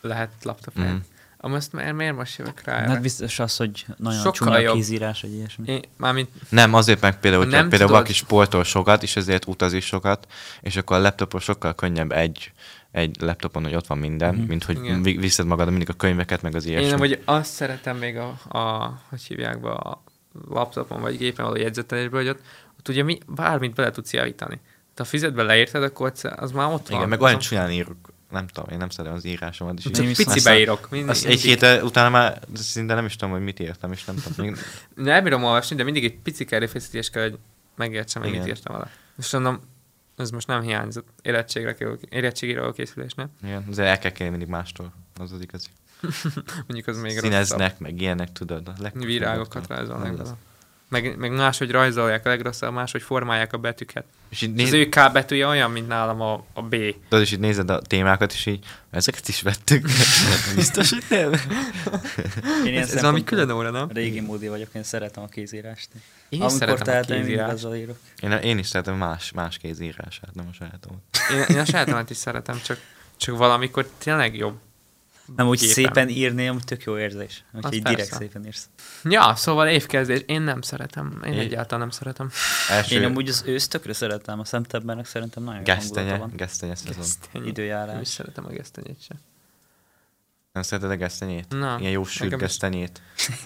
Speaker 2: Lehet laptop.
Speaker 3: Mhm.
Speaker 2: Mm. Amúgy azt miért, miért most jövök rá? erre?
Speaker 4: Hát biztos az, hogy nagyon
Speaker 2: Sokkal
Speaker 4: Sokkal csúnya
Speaker 2: jobb.
Speaker 4: a kézírás, vagy ilyesmi.
Speaker 2: Én, mármint
Speaker 3: Nem, azért meg például, hogyha
Speaker 2: Nem
Speaker 3: például
Speaker 2: tudod.
Speaker 3: valaki sportol sokat, és ezért utazik sokat, és akkor a laptopon sokkal könnyebb egy, egy laptopon, hogy ott van minden, mm. mint hogy
Speaker 2: Igen.
Speaker 3: vi- viszed magad mindig a könyveket, meg az ilyesmit.
Speaker 2: Én amúgy azt szeretem még a, a hogy hívják be, a laptopon vagy gépen való jegyzetelésből, hogy ott, ott ugye mi, bármit bele tudsz javítani. Ha fizetbe leírtad, akkor egyszer- az már ott van.
Speaker 3: Igen, meg olyan csúnyán írok. Nem tudom, én nem szeretem az írásomat. És
Speaker 2: Csak
Speaker 3: így-
Speaker 2: pici
Speaker 3: aztán-
Speaker 2: beírok. Mindig,
Speaker 3: Azt egy héttel utána már szinte nem is tudom, hogy mit írtam, és nem tudom. Még...
Speaker 2: nem bírom olvasni, de mindig egy picike erőfeszítés kell, hogy megértsem, hogy mit
Speaker 3: Igen.
Speaker 2: írtam alá. És mondom, ez most nem hiányzott érettségre kell, érettségére készülésnek.
Speaker 3: Igen, azért el kell kérni mindig mástól. Az az igazi.
Speaker 2: Mondjuk az még rosszabb.
Speaker 3: Színeznek, meg ilyenek, tudod. a legtöbb
Speaker 2: Virágokat
Speaker 3: feladat.
Speaker 2: rajzolnak.
Speaker 3: Nem
Speaker 2: bele.
Speaker 3: lesz.
Speaker 2: Meg, meg máshogy rajzolják a legrosszabb, máshogy formálják a betűket.
Speaker 3: És így
Speaker 2: Az
Speaker 3: néz...
Speaker 2: ő K betűje olyan, mint nálam a, a B.
Speaker 3: Tudod, és így nézed a témákat, és így ezeket is vettük.
Speaker 2: <laughs>
Speaker 3: Biztos, hogy nem.
Speaker 4: Én ilyen
Speaker 2: Ez, ez valami
Speaker 4: szempontból
Speaker 2: külön óra, nem?
Speaker 4: Régi módi vagyok, én szeretem a kézírást.
Speaker 2: Én
Speaker 4: Amikor
Speaker 2: szeretem a
Speaker 4: tehát én mindig
Speaker 2: kézírást.
Speaker 4: azzal írok.
Speaker 3: Én, én is szeretem más, más kéz írását, nem a sajátomat.
Speaker 2: <laughs> Én, én a sajátomat is szeretem, csak, csak valamikor tényleg jobb.
Speaker 4: Nem úgy
Speaker 2: Gépen.
Speaker 4: szépen írni, amúgy tök jó érzés. Hogyha
Speaker 2: Az
Speaker 4: így direkt
Speaker 2: persze.
Speaker 4: szépen írsz.
Speaker 2: Ja, szóval évkezdés. Én nem szeretem. Én
Speaker 3: É-
Speaker 2: egyáltalán nem szeretem.
Speaker 3: Első
Speaker 4: Én amúgy az őszt tökre szeretem, a szemtebbernek szerintem nagyon jó hangulata
Speaker 3: gesztenye,
Speaker 4: van.
Speaker 3: gesztenye szezon.
Speaker 2: Nem is
Speaker 4: Időjárás.
Speaker 2: szeretem a gesztenyét sem.
Speaker 3: Nem szereted a gesztenyét?
Speaker 2: Na,
Speaker 3: Ilyen jó sűrű
Speaker 2: nekem is. <laughs>
Speaker 3: gesztenyét.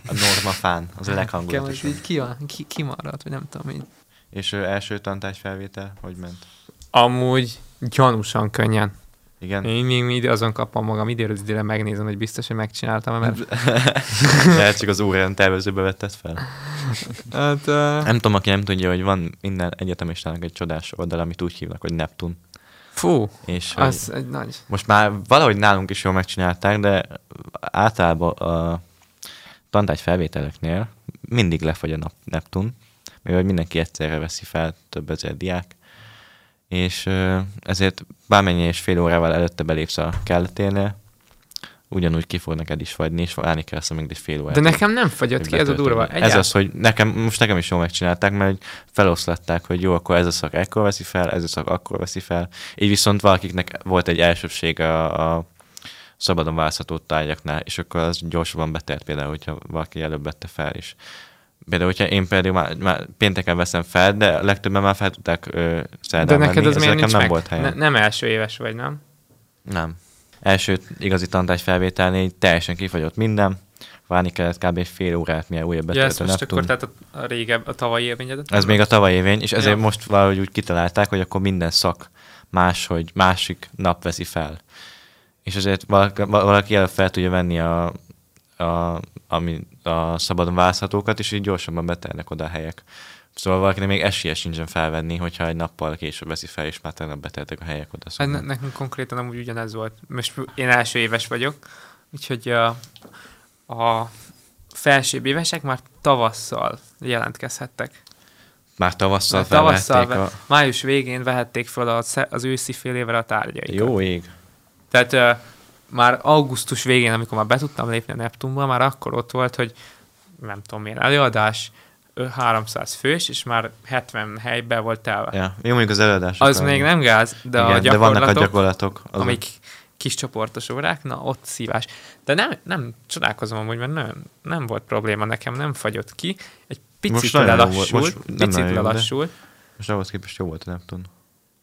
Speaker 3: A norma fán, az a
Speaker 2: Nekem az
Speaker 3: leghangulatosabb.
Speaker 2: így ki, ki, kimarad, vagy nem tudom így.
Speaker 3: És ö, első tantárgy felvétel, hogy ment?
Speaker 2: Amúgy gyanúsan könnyen.
Speaker 3: Igen.
Speaker 2: Én még mindig azon kapom magam időről időre megnézem, hogy biztos, hogy megcsináltam, mert
Speaker 3: Lehet csak az órán tervezőbe vetted fel.
Speaker 2: <laughs> hát, uh,
Speaker 3: Nem tudom, aki nem tudja, hogy van minden egyetemistának egy csodás oldal, amit úgy hívnak, hogy Neptun.
Speaker 2: fú,
Speaker 3: És hogy
Speaker 2: az egy nagy...
Speaker 3: most már valahogy nálunk is jól megcsinálták, de általában a tantárgy felvételeknél mindig lefagy a nap- Neptun, mivel mindenki egyszerre veszi fel, több ezer diák, és ö, ezért bármennyi és fél órával előtte belépsz a kelleténél, ugyanúgy ki fog neked is fagyni, és állni kell azt még egy fél órát.
Speaker 2: De nekem nem fagyott ki, ez a durva.
Speaker 3: Egyáltalán. Ez az, hogy nekem, most nekem is jól megcsinálták, mert hogy feloszlatták, hogy jó, akkor ez a szak ekkor veszi fel, ez a szak akkor veszi fel. Így viszont valakiknek volt egy elsőbség a, a szabadon választható tárgyaknál, és akkor az gyorsabban betelt például, hogyha valaki előbb vette fel is. Például, hogyha én például már, már pénteken veszem fel, de legtöbben már fel tudták ö, szerdán
Speaker 2: De neked
Speaker 3: venni,
Speaker 2: az
Speaker 3: ez
Speaker 2: miért
Speaker 3: nekem
Speaker 2: nincs
Speaker 3: nem
Speaker 2: meg?
Speaker 3: volt helyen.
Speaker 2: Ne, nem első éves vagy, nem?
Speaker 3: Nem. Első igazi tantárgy felvételnél így teljesen kifagyott minden, várni kellett kb. egy fél órát, mire újabb
Speaker 2: Ja, ez
Speaker 3: betöltő
Speaker 2: most
Speaker 3: Neptun.
Speaker 2: akkor tehát a, a régebb, a tavalyi élményedet?
Speaker 3: Ez még a tavaly évén, és ezért
Speaker 2: Ja.
Speaker 3: ja. most valahogy úgy kitalálták, hogy akkor minden szak más, hogy másik nap veszi fel. És ezért valaki, valaki előbb fel tudja venni a, a, ami, a szabadon választhatókat, és így gyorsabban betelnek oda a helyek. Szóval valakinek még esélye sincsen felvenni, hogyha egy nappal később veszi fel, és már tegnap beteltek a helyek oda.
Speaker 2: Hát
Speaker 3: Szóval.
Speaker 2: ne, nekünk konkrétan amúgy ugyanez volt. Most én első éves vagyok, úgyhogy a, a felsőbb évesek már tavasszal jelentkezhettek.
Speaker 3: Már tavasszal
Speaker 2: Már tavasszal,
Speaker 3: felvették
Speaker 2: ve- május végén vehették fel a, sze- az őszi fél évre a tárgyaikat.
Speaker 3: Jó ég.
Speaker 2: Tehát ö, már augusztus végén, amikor már be tudtam lépni a Neptunba, már akkor ott volt, hogy nem tudom milyen előadás, ö, 300 fős, és már 70 helyben volt telve.
Speaker 3: Ja. Jó, mondjuk az előadás.
Speaker 2: Az még nem gáz, de Igen, a
Speaker 3: de vannak a
Speaker 2: gyakorlatok,
Speaker 3: gyakorlatok. azok-
Speaker 2: amik kis csoportos órák, na ott szívás. De nem, nem csodálkozom amúgy, mert nem, nem volt probléma nekem, nem fagyott ki. Egy picit
Speaker 3: Most nagyon jó volt, most
Speaker 2: lelassult,
Speaker 3: nem
Speaker 2: picit
Speaker 3: nagyon jó, de-
Speaker 2: lelassult,
Speaker 3: Most ahhoz képest jó volt a Neptun.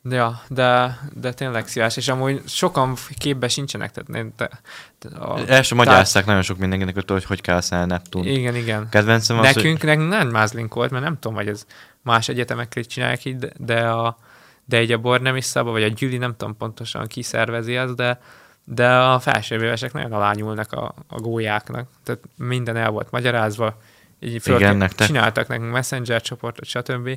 Speaker 2: de... Ja, de, de tényleg szívás, és amúgy sokan képbe sincsenek. Tehát, én- te, te, a,
Speaker 3: El sem magyarázták nagyon sok mindenkinek, hogy hogy kell használni a Neptun.
Speaker 2: Igen, igen.
Speaker 3: Kedvencem az, hogy
Speaker 2: Nekünk nekünk nem mázlink volt, mert nem tudom, hogy ez más egyetemek is csinálják így, de- de, a, de egy a bor nem is szabad, vagy a gyüli, nem tudom pontosan ki szervezi ezt, de, de a felsőbb évesek nagyon alányulnak a, a gólyáknak. Tehát minden el volt magyarázva, így föl,
Speaker 3: Igen, nektek.
Speaker 2: csináltak nekünk messenger csoportot, stb.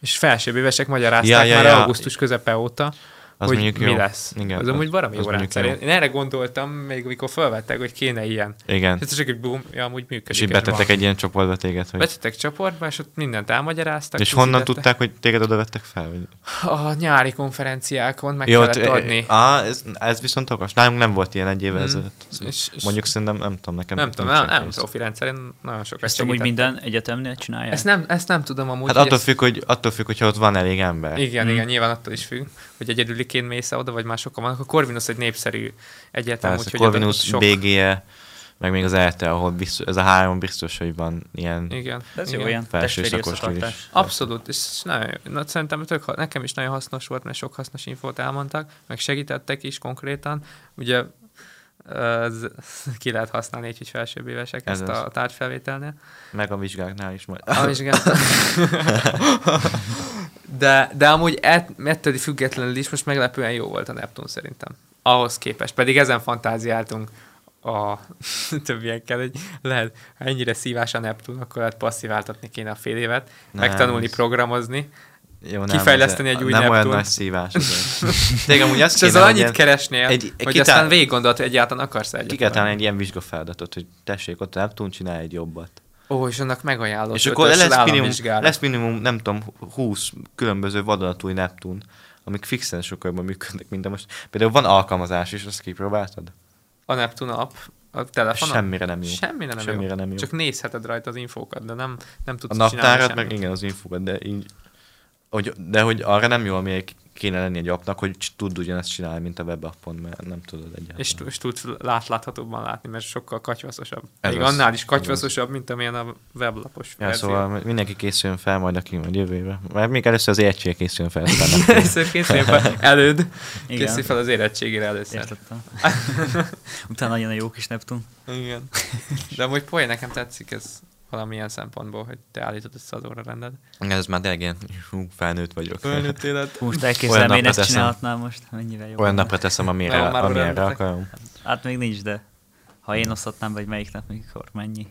Speaker 2: És felsőbb évesek magyarázták
Speaker 3: Ja,
Speaker 2: ja,
Speaker 3: ja,
Speaker 2: már ja,
Speaker 3: ja.
Speaker 2: augusztus közepe óta,
Speaker 3: Az
Speaker 2: hogy
Speaker 3: mondjuk
Speaker 2: mi
Speaker 3: jó.
Speaker 2: lesz.
Speaker 3: Igen,
Speaker 2: az
Speaker 3: az-
Speaker 2: amúgy valami
Speaker 3: az
Speaker 2: jó
Speaker 3: mondjuk
Speaker 2: rendszer.
Speaker 3: jó.
Speaker 2: Én, én erre gondoltam, még amikor felvettek, hogy kéne ilyen.
Speaker 3: igen.
Speaker 2: És ez csak egy boom, ja, amúgy működik.
Speaker 3: És így
Speaker 2: ez
Speaker 3: betettek
Speaker 2: van.
Speaker 3: egy ilyen csoportba téged, hogy...
Speaker 2: Betettek csoportba, és ott mindent elmagyaráztak.
Speaker 3: És honnan
Speaker 2: küzdöttek.
Speaker 3: tudták, hogy téged oda vettek fel? Vagy...
Speaker 2: A nyári konferenciákon meg
Speaker 3: Jó, hát, eh,
Speaker 2: kellett
Speaker 3: te-
Speaker 2: adni.
Speaker 3: Á, ez, ez viszont okos. Nálunk nem volt ilyen egy éve
Speaker 2: Mm.
Speaker 3: ezelőtt.
Speaker 2: És- és-
Speaker 3: Mondjuk szerintem, nem tudom, nekem...
Speaker 2: nem tudom,
Speaker 3: nincs
Speaker 2: nem,
Speaker 3: ilyen
Speaker 2: nem
Speaker 3: rész.
Speaker 2: profi rendszer, én nagyon sokat
Speaker 4: Ezt amúgy
Speaker 2: segítettem.
Speaker 4: minden egyetemnél csinálják?
Speaker 2: Ezt nem, ezt nem tudom amúgy.
Speaker 3: Hát
Speaker 2: hogy
Speaker 3: attól
Speaker 2: ezt-
Speaker 3: függ, Mm. hogy, attól függ, hogyha ott van elég ember.
Speaker 2: Igen, igen, nyilván attól is függ, hogy egyedüliként mész oda, vagy már sokan vannak. A Corvinus egy népszerű egyetem,
Speaker 3: Persze,
Speaker 2: úgyhogy oda
Speaker 3: Corvinus,
Speaker 2: sok...
Speaker 3: BGE, meg még az ELTE, ahol biztos, ez a három biztos, hogy van ilyen...
Speaker 2: Igen.
Speaker 4: De ez
Speaker 2: igen.
Speaker 4: jó, ilyen
Speaker 3: Felső
Speaker 4: testvéri
Speaker 3: szakostól is.
Speaker 4: összetartás.
Speaker 2: Abszolút, és nagyon, jó. na, szerintem tök, ha- nekem is nagyon hasznos volt, mert sok hasznos infót elmondtak, meg segítettek is konkrétan. Ugye ez, ki lehet használni egy felsőbb évesek
Speaker 3: Ez
Speaker 2: ezt
Speaker 3: az.
Speaker 2: a
Speaker 3: <laughs>
Speaker 2: tárgyfelvételnél.
Speaker 3: Meg a vizsgáknál is majd.
Speaker 2: A vizsgát. de, de amúgy ett, ettől függetlenül is most meglepően jó volt a Neptun szerintem. Ahhoz képest. Pedig ezen fantáziáltunk a <laughs> többiekkel, hogy lehet, ha ennyire szívás a Neptun, akkor lehet passziváltatni kéne a fél évet,
Speaker 3: Nem,
Speaker 2: megtanulni
Speaker 3: ez-
Speaker 2: programozni,
Speaker 3: Jó, nem,
Speaker 2: Kifejleszteni
Speaker 3: ez-
Speaker 2: egy új
Speaker 3: Nem olyan
Speaker 2: Neptun.
Speaker 3: nagy szívás. Tényleg amúgy azt
Speaker 2: és ezzel
Speaker 3: kéne, hogy
Speaker 2: annyit
Speaker 3: ilyen-
Speaker 2: keresnél,
Speaker 3: egy-
Speaker 2: egy,
Speaker 3: egy
Speaker 2: hogy
Speaker 3: kitá-
Speaker 2: aztán végig gondolt, hogy egyáltalán akarsz egyet.
Speaker 3: Ki kell találni egy ilyen vizsgafeladatot, hogy tessék, ott a Neptun csinál egy jobbat.
Speaker 2: Ó, és annak megajánlott.
Speaker 3: és akkor
Speaker 2: ötös
Speaker 3: lesz minimum,
Speaker 2: államvizsgára.
Speaker 3: lesz minimum, nem tudom, 20 különböző vadonatúj Neptun, amik fixen sokkal jobban működnek, mint a most. Például van alkalmazás is, azt kipróbáltad?
Speaker 2: a Neptun app, a telefonon.
Speaker 3: Semmire nem jó.
Speaker 2: Semmire nem,
Speaker 3: Semmire
Speaker 2: jó.
Speaker 3: nem jó.
Speaker 2: Csak nézheted rajta az infókat, de nem, nem
Speaker 3: A
Speaker 2: tudsz
Speaker 3: naptárat,
Speaker 2: semmit.
Speaker 3: meg igen, az infókat, de így... Hogy, de hogy arra nem jó, ami kéne lenni egy appnak, hogy c- tud ugyanezt csinálni, mint a webappon, mert nem tudod egyáltalán.
Speaker 2: És, t- és tudsz látláthatóbban látni, mert sokkal katyvaszosabb.
Speaker 3: Ez
Speaker 2: Még
Speaker 3: az.
Speaker 2: annál is katyvaszosabb, mint amilyen a weblapos
Speaker 3: Ja,
Speaker 2: verzió. <laughs>
Speaker 3: szóval mindenki készüljön fel majd, aki majd jövő évre. Mert még először az értség készüljön fel. aztán nem.
Speaker 2: Először készülj fel előd,
Speaker 4: Igen.
Speaker 2: készülj fel az érettségére először.
Speaker 4: Értettem. <laughs> Utána jön a jó kis Neptun.
Speaker 2: Igen. De amúgy poén, nekem tetszik ez. valamilyen szempontból, hogy te állítod össze az óra
Speaker 3: <laughs>
Speaker 2: rended.
Speaker 3: Ez már tényleg ilyen, hú, felnőtt vagyok.
Speaker 2: Fölnőtt élet.
Speaker 4: Most
Speaker 3: Olyan
Speaker 4: elképzelem,
Speaker 3: napra
Speaker 4: én ezt
Speaker 3: teszem.
Speaker 4: csinálhatnám most, mennyivel jobb.
Speaker 3: Olyan
Speaker 4: lenne.
Speaker 3: napra teszem, amire,
Speaker 2: Nagyon már
Speaker 3: amire
Speaker 2: örömletek.
Speaker 3: akarom.
Speaker 4: Hát még nincs, de ha én osztatnám, vagy melyik nap, mikor, mennyi,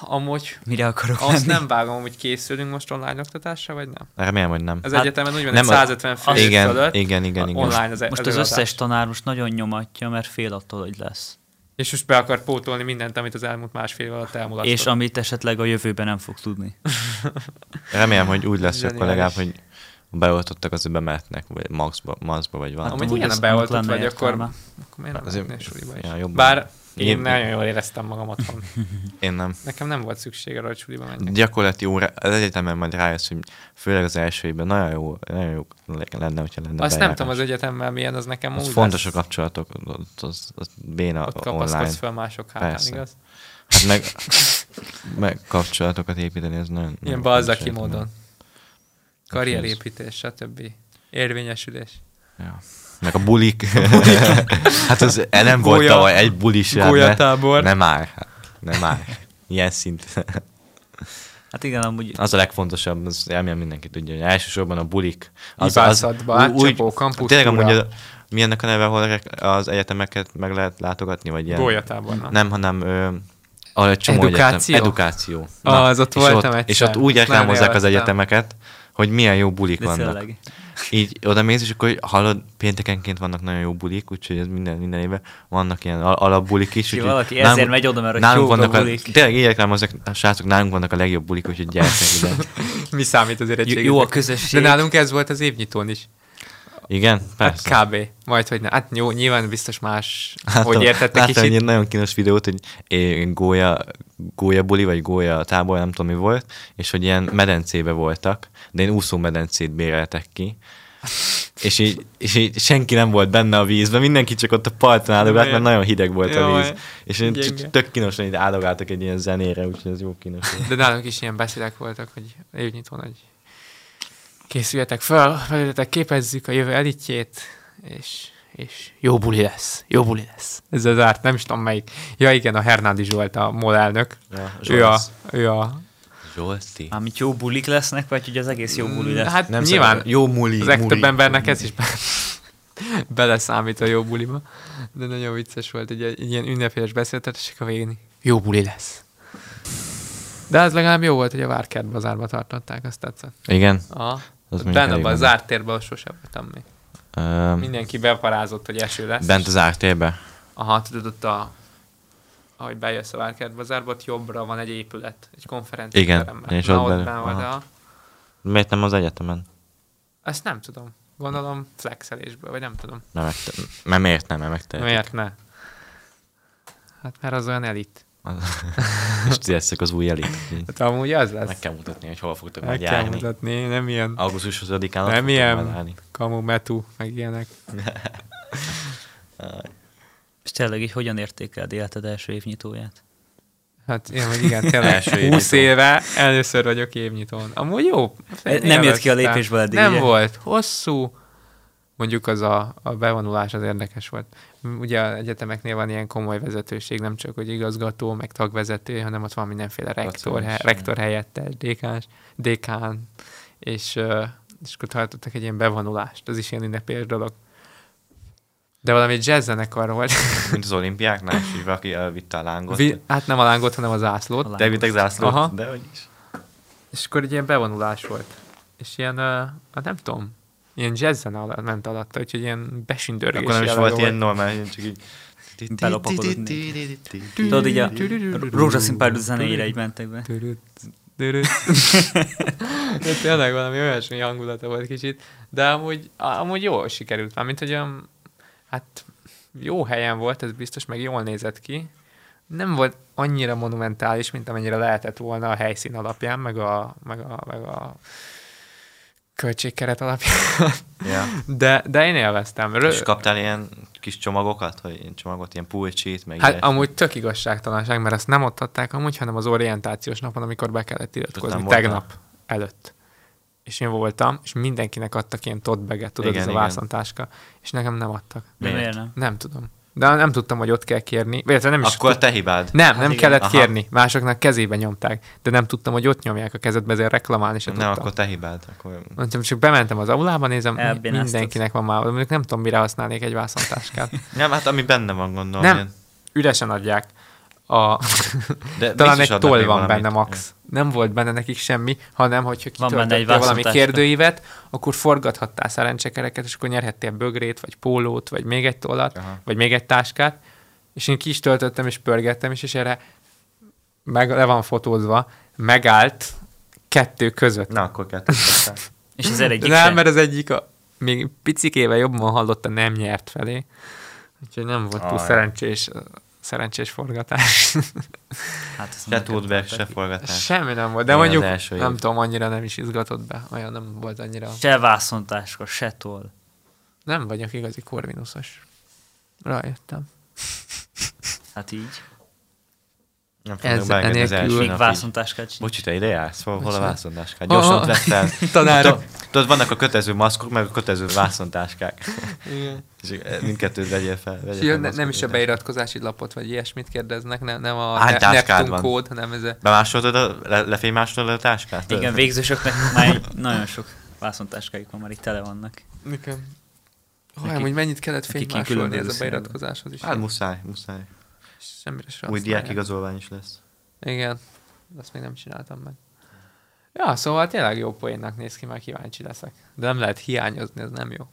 Speaker 2: Amúgy
Speaker 4: mire akarok
Speaker 2: azt
Speaker 4: menni.
Speaker 2: nem vágom, hogy készülünk most online oktatásra, vagy nem?
Speaker 3: Remélem, hogy nem.
Speaker 2: Az
Speaker 4: Hát,
Speaker 2: egyetemen úgy van,
Speaker 3: nem
Speaker 2: hogy
Speaker 3: a-
Speaker 2: 150 fő
Speaker 3: igen,
Speaker 2: fölött
Speaker 3: igen, igen, igen.
Speaker 2: online az
Speaker 4: Most
Speaker 2: ez
Speaker 4: az
Speaker 2: előadás.
Speaker 4: összes tanár most nagyon nyomatja, mert fél attól, hogy lesz.
Speaker 2: És most be akar pótolni mindent, amit az elmúlt másfél év alatt elmulasztott.
Speaker 4: És amit esetleg a jövőben nem fog tudni.
Speaker 3: Remélem, hogy úgy lesz, hogy akkor legalább,
Speaker 2: Zseniális.
Speaker 3: hogy beoltottak az bemetnek, vagy maxba, maxba vagy valami.
Speaker 2: Amúgy
Speaker 4: amúgy
Speaker 2: igen,
Speaker 4: ez
Speaker 2: ha beoltott
Speaker 4: annak
Speaker 2: vagy,
Speaker 4: lenne
Speaker 2: akkor,
Speaker 4: értelme.
Speaker 2: akkor miért nem
Speaker 3: Hát Azért-
Speaker 2: mennél suliba is?
Speaker 3: ja, jobban.
Speaker 2: Bár én
Speaker 3: Én-
Speaker 2: nagyon jól éreztem magam
Speaker 3: <laughs>
Speaker 2: otthon.
Speaker 3: Én nem.
Speaker 2: Nekem nem volt szükség arra, hogy suliba menjek.
Speaker 3: Gyakorlati óra, az egyetemen majd rájössz, hogy főleg az első évben nagyon jó, nagyon jó lenne, hogyha lenne
Speaker 2: Azt nem
Speaker 3: bejárás.
Speaker 2: tudom, az egyetemmel milyen, az nekem
Speaker 3: az
Speaker 2: úgy
Speaker 3: fontos a
Speaker 2: lesz.
Speaker 3: kapcsolatok, az, az, az béna
Speaker 2: Ott
Speaker 3: online.
Speaker 2: kapaszkodsz fel mások hátán,
Speaker 3: Persze.
Speaker 2: igaz?
Speaker 3: Hát meg, meg kapcsolatokat építeni, ez nagyon...
Speaker 2: Ilyen
Speaker 3: nagyon
Speaker 2: balzaki
Speaker 3: fontos
Speaker 2: módon.
Speaker 3: egyetemen.
Speaker 2: Karrierépítés, stb. Érvényesülés.
Speaker 3: Ja. Meg a bulik. <laughs> hát az e, nem volt
Speaker 2: Gólya-
Speaker 3: tavaly egy bulis
Speaker 2: gólyatábor.
Speaker 3: Nem már. hát, Nem már. Ilyen szint. <laughs>
Speaker 4: Hát igen, amúgy
Speaker 3: Az a legfontosabb, az elmélem mindenki tudja, hogy elsősorban a bulik. Az,
Speaker 2: Hibászatba, átcsapó, kampusz
Speaker 3: Tényleg
Speaker 2: túra.
Speaker 3: amúgy a, mi ennek a neve, ahol rek- az egyetemeket meg lehet látogatni, vagy ilyen?
Speaker 2: Gólyatábornak.
Speaker 3: Nem, hanem ö, a csomó
Speaker 2: Edukáció?
Speaker 3: Egyetem, edukáció.
Speaker 2: az ott
Speaker 3: és
Speaker 2: voltam
Speaker 3: ott, És
Speaker 2: egyszer.
Speaker 3: ott úgy
Speaker 2: Nagyon
Speaker 3: reklámozzák az
Speaker 2: élveztem.
Speaker 3: egyetemeket, hogy milyen jó bulik
Speaker 4: De
Speaker 3: vannak.
Speaker 4: tényleg.
Speaker 3: Így oda mész, és akkor hallod, péntekenként vannak nagyon jó bulik, úgyhogy ez minden, minden évben vannak ilyen al- alapbulik is.
Speaker 4: Ki
Speaker 3: úgyhogy
Speaker 4: valaki ezért megy oda, mert hogy
Speaker 3: nálunk
Speaker 4: jók a
Speaker 3: vannak a,
Speaker 4: bulik.
Speaker 3: Tényleg így reklámozzák, a srácok, nálunk vannak a legjobb bulik, úgyhogy gyertek ide.
Speaker 4: <laughs>
Speaker 2: Mi számít az érettségiznek?
Speaker 4: Jó- jó a közösség.
Speaker 2: De nálunk ez volt az évnyitón is.
Speaker 3: Igen,
Speaker 2: Hát
Speaker 3: persze. Hát
Speaker 2: kb. Majd, hogy ne. Hát jó, nyilván biztos más, hogy értettek
Speaker 3: láttam egy
Speaker 2: kicsit.
Speaker 3: ilyen nagyon kínos videót, hogy é, gólya, gólya buli, vagy gólya tábor, nem tudom mi volt, és hogy ilyen medencébe voltak, de én úszó medencét béreltek ki. És így, és így senki nem volt benne a vízben, mindenki csak ott a parton áldogált, mert nagyon hideg volt a
Speaker 2: Jaj.
Speaker 3: víz. És én
Speaker 2: Gyenge.
Speaker 3: csak tök kínosan így áldogáltak egy ilyen zenére, úgyhogy ez jó kínos.
Speaker 2: De nálunk is ilyen beszédek voltak, hogy évnyitón, hogy készüljetek fel, felületek képezzük a jövő elitjét, és, és jó buli lesz, jó buli lesz. Ez az árt, nem is tudom melyik. Ja igen, a Hernádi Zsolt a MOL elnök.
Speaker 3: Ja,
Speaker 2: ő a,
Speaker 3: Zsolc.
Speaker 2: ő a
Speaker 3: Zsolti.
Speaker 4: amit jó bulik lesznek, vagy hogy az egész jó buli lesz.
Speaker 2: Hát
Speaker 3: Nem
Speaker 2: nem nyilván
Speaker 3: szerint- jó muli,
Speaker 2: az legtöbb
Speaker 3: muli.
Speaker 2: embernek ez is be- <laughs> beleszámít a jó buliba. De nagyon vicces volt egy, egy ilyen ünnepélyes beszéltetések a végén. Jó buli lesz. De az legalább jó volt, hogy a Várkert bazárba tartották, azt tetszett.
Speaker 3: Igen.
Speaker 2: Aha.
Speaker 3: Az mondjuk
Speaker 2: Benne
Speaker 3: elég
Speaker 2: abban a
Speaker 3: menő.
Speaker 2: zárt térben ahol sose voltam
Speaker 4: Mhm.
Speaker 2: még.
Speaker 3: Öm,
Speaker 2: Mindenki beparázott, hogy eső lesz.
Speaker 3: Bent az ártérbe.
Speaker 2: Aha, tudod, ott a ahogy bejössz a Várkert bazárba, ott jobbra van egy épület, egy konferencia
Speaker 3: Igen,
Speaker 2: teremben.
Speaker 3: és
Speaker 2: Na,
Speaker 3: ott
Speaker 2: ott
Speaker 3: belül.
Speaker 2: benn volt,
Speaker 3: Aha.
Speaker 2: aha.
Speaker 3: Miért nem az egyetemen?
Speaker 2: Ezt nem tudom. Gondolom flexelésből, vagy nem tudom.
Speaker 3: Mert, megte- mert miért nem, mert megtehetik.
Speaker 2: Miért ne? Hát mert az olyan elit.
Speaker 3: Az- És ti leszek az új elit. Így
Speaker 2: Hát amúgy az
Speaker 3: Meg
Speaker 2: lesz.
Speaker 3: kell mutatni, hogy hol fogtok
Speaker 2: Meg
Speaker 3: majd
Speaker 2: kell
Speaker 3: járni.
Speaker 2: mutatni, nem ilyen
Speaker 3: Augusztus 20-án ott
Speaker 2: Nem
Speaker 3: fogtok
Speaker 2: ilyen.
Speaker 3: majd állni.
Speaker 2: kamu metu, meg ilyenek.
Speaker 4: És tényleg így hogyan értékeled életed első évnyitóját?
Speaker 2: Hát én meg igen, tényleg
Speaker 3: Első
Speaker 2: 20
Speaker 3: évnyitó.
Speaker 2: éve először vagyok évnyitón. Amúgy jó.
Speaker 4: Nem jött ki a
Speaker 2: Élveztem.
Speaker 4: lépésből eddig,
Speaker 2: Nem
Speaker 4: ugye?
Speaker 2: volt. Hosszú. Mondjuk az a, a bevonulás az érdekes volt. M- Ugye az egyetemeknél van ilyen komoly vezetőség, nem csak hogy igazgató, meg tagvezető, hanem ott van mindenféle rektor,
Speaker 3: Docenes.
Speaker 2: he, rektor helyettes, dékás, dékán, és, ö, és akkor tartottak egy ilyen bevonulást. Az is ilyen ünnepélyes dolog. De valami jazz zenekar volt.
Speaker 3: Mint az olimpiáknál, és így valaki elvitte a
Speaker 2: <laughs>
Speaker 3: lángot.
Speaker 2: Vi, hát nem a lángot, hanem az zászlót.
Speaker 4: A
Speaker 3: De vittek zászlót,
Speaker 2: Aha.
Speaker 3: de hogy is.
Speaker 2: És akkor egy ilyen bevonulás volt. És ilyen, uh, hát nem tudom, ilyen jazzen alatt ment alatta, úgyhogy ilyen besündörgés.
Speaker 3: Akkor nem is
Speaker 2: jellegű
Speaker 3: volt ilyen normál, csak így...
Speaker 4: Belopakodott Tudod, így a rózsaszín pár zenére így mentek be.
Speaker 2: Dürüt, <laughs> dürüt. De tényleg valami olyasmi hangulata volt kicsit, de amúgy, amúgy jól sikerült. Mármint, hogy olyan, hát jó helyen volt, ez biztos, meg jól nézett ki. Nem volt annyira monumentális, mint amennyire lehetett volna a helyszín alapján, meg a, meg a, meg a költségkeret alapján.
Speaker 3: Ja.
Speaker 2: De, de én élveztem. Rö-
Speaker 3: És kaptál ilyen kis csomagokat, hogy ilyen csomagot, ilyen pulcsit, meg
Speaker 2: Hát
Speaker 3: ilyesmi?
Speaker 2: amúgy tök igazságtalanság, mert ezt nem ott adták amúgy, hanem az orientációs napon, amikor be kellett iratkozni,
Speaker 3: nem voltál?
Speaker 2: tegnap előtt. És én voltam, és mindenkinek adtak ilyen totbeget, tudod,
Speaker 3: Igen,
Speaker 2: igen, ez a
Speaker 3: igen.
Speaker 2: vászontáska, és nekem nem adtak.
Speaker 4: De
Speaker 3: Miért?
Speaker 4: miért nem?
Speaker 2: Nem tudom. de nem tudtam, hogy ott kell kérni. Illetve nem is
Speaker 3: Akkor te hibád.
Speaker 2: Nem, nem
Speaker 4: Hát igen.
Speaker 2: kellett
Speaker 3: Aha.
Speaker 2: kérni. Másoknak kezébe nyomták. De nem tudtam, hogy ott nyomják a kezedbe, ezért reklamálni se
Speaker 3: Nem,
Speaker 2: tudtam.
Speaker 3: akkor te hibád. Akkor...
Speaker 2: Mondtam, csak bementem az aulába, nézem, mi-
Speaker 4: Elbénáztad.
Speaker 2: mindenkinek van már, mondjuk nem tudom, mire használnék egy vászontáskát.
Speaker 3: Nem, hát ami benne van, gondolom.
Speaker 2: nem,
Speaker 3: ilyen.
Speaker 2: üresen adják. <laughs> A...
Speaker 3: De
Speaker 2: Talán
Speaker 3: biztos
Speaker 2: egy
Speaker 3: adnak
Speaker 2: toll
Speaker 3: még
Speaker 2: van
Speaker 3: valamit.
Speaker 2: benne max. Nem volt benne nekik semmi, hanem hogyha
Speaker 4: Van benne egy
Speaker 2: kitöltöttél valami
Speaker 4: vászontáska.
Speaker 2: kérdőívet, akkor forgathattál szerencsekereket, és akkor nyerhettél bögrét, vagy pólót, vagy még egy tollat,
Speaker 3: Aha.
Speaker 2: vagy még egy táskát. És én ki is töltöttem, és pörgettem is, és erre meg, le van fotózva, megállt kettő között.
Speaker 3: Na, akkor kettőt
Speaker 2: <laughs>
Speaker 3: kaptál.
Speaker 4: És az egyik
Speaker 2: nem,
Speaker 4: sem.
Speaker 2: mert az egyik a, még picikével jobban hallotta, nem nyert felé. Úgyhogy nem volt túl
Speaker 3: Aj.
Speaker 2: szerencsés, szerencsés forgatás.
Speaker 4: Hát azt
Speaker 3: Se
Speaker 4: mondjuk,
Speaker 3: tudberg, se forgatás.
Speaker 2: <laughs> Semmi nem volt, de
Speaker 3: Igen, az
Speaker 2: mondjuk
Speaker 3: első év.
Speaker 2: nem tudom, annyira nem is izgatott be, olyan nem volt annyira.
Speaker 4: Se vászontáska, se toll.
Speaker 2: Nem vagyok igazi korvinuszos. Rájöttem.
Speaker 4: Hát így.
Speaker 3: Nem fognak
Speaker 2: Ez-
Speaker 3: beengedni az
Speaker 2: enélkül-
Speaker 3: első
Speaker 4: Még
Speaker 3: nap így.
Speaker 4: vászontáskát csinál.
Speaker 3: Bocsi, te ide jársz? Hol, hol a vászontáskát?
Speaker 2: Aha.
Speaker 3: Gyorsan ott vettem.
Speaker 2: <laughs> Tanárok.
Speaker 3: Tudod, vannak a kötező maszkok, meg a kötező vászontáskák.
Speaker 2: Igen.
Speaker 3: És eh, mindkettőt vegyél fel. Vegyél
Speaker 2: És
Speaker 3: fel
Speaker 2: jön, ne, nem
Speaker 3: maszkot,
Speaker 2: is a
Speaker 3: vegyél.
Speaker 2: beiratkozási lapot, vagy ilyesmit kérdeznek, nem, nem a
Speaker 3: Hány
Speaker 2: ne,
Speaker 3: táskád
Speaker 2: Neptun
Speaker 3: van?
Speaker 2: kód, hanem ez a...
Speaker 3: Bemásoltad, a, le, lefénymásoltad a táskát?
Speaker 4: Igen, végzősöknek már egy- nagyon sok vászontáskájuk van, már itt tele vannak.
Speaker 2: Nekem. Haj,
Speaker 4: Nekik-
Speaker 2: amúgy mennyit kellett
Speaker 4: nekik ilyen
Speaker 2: fénymásolni ez a
Speaker 4: különböző
Speaker 2: beiratkozáshoz is.
Speaker 3: Hát muszáj, muszáj.
Speaker 2: Semmire sem
Speaker 3: Új
Speaker 2: használják.
Speaker 3: diák igazolvány is lesz.
Speaker 2: Igen, azt még nem csináltam meg. Ja, szóval tényleg jó poénnak néz ki, már kíváncsi leszek. De nem lehet hiányozni, ez nem jó.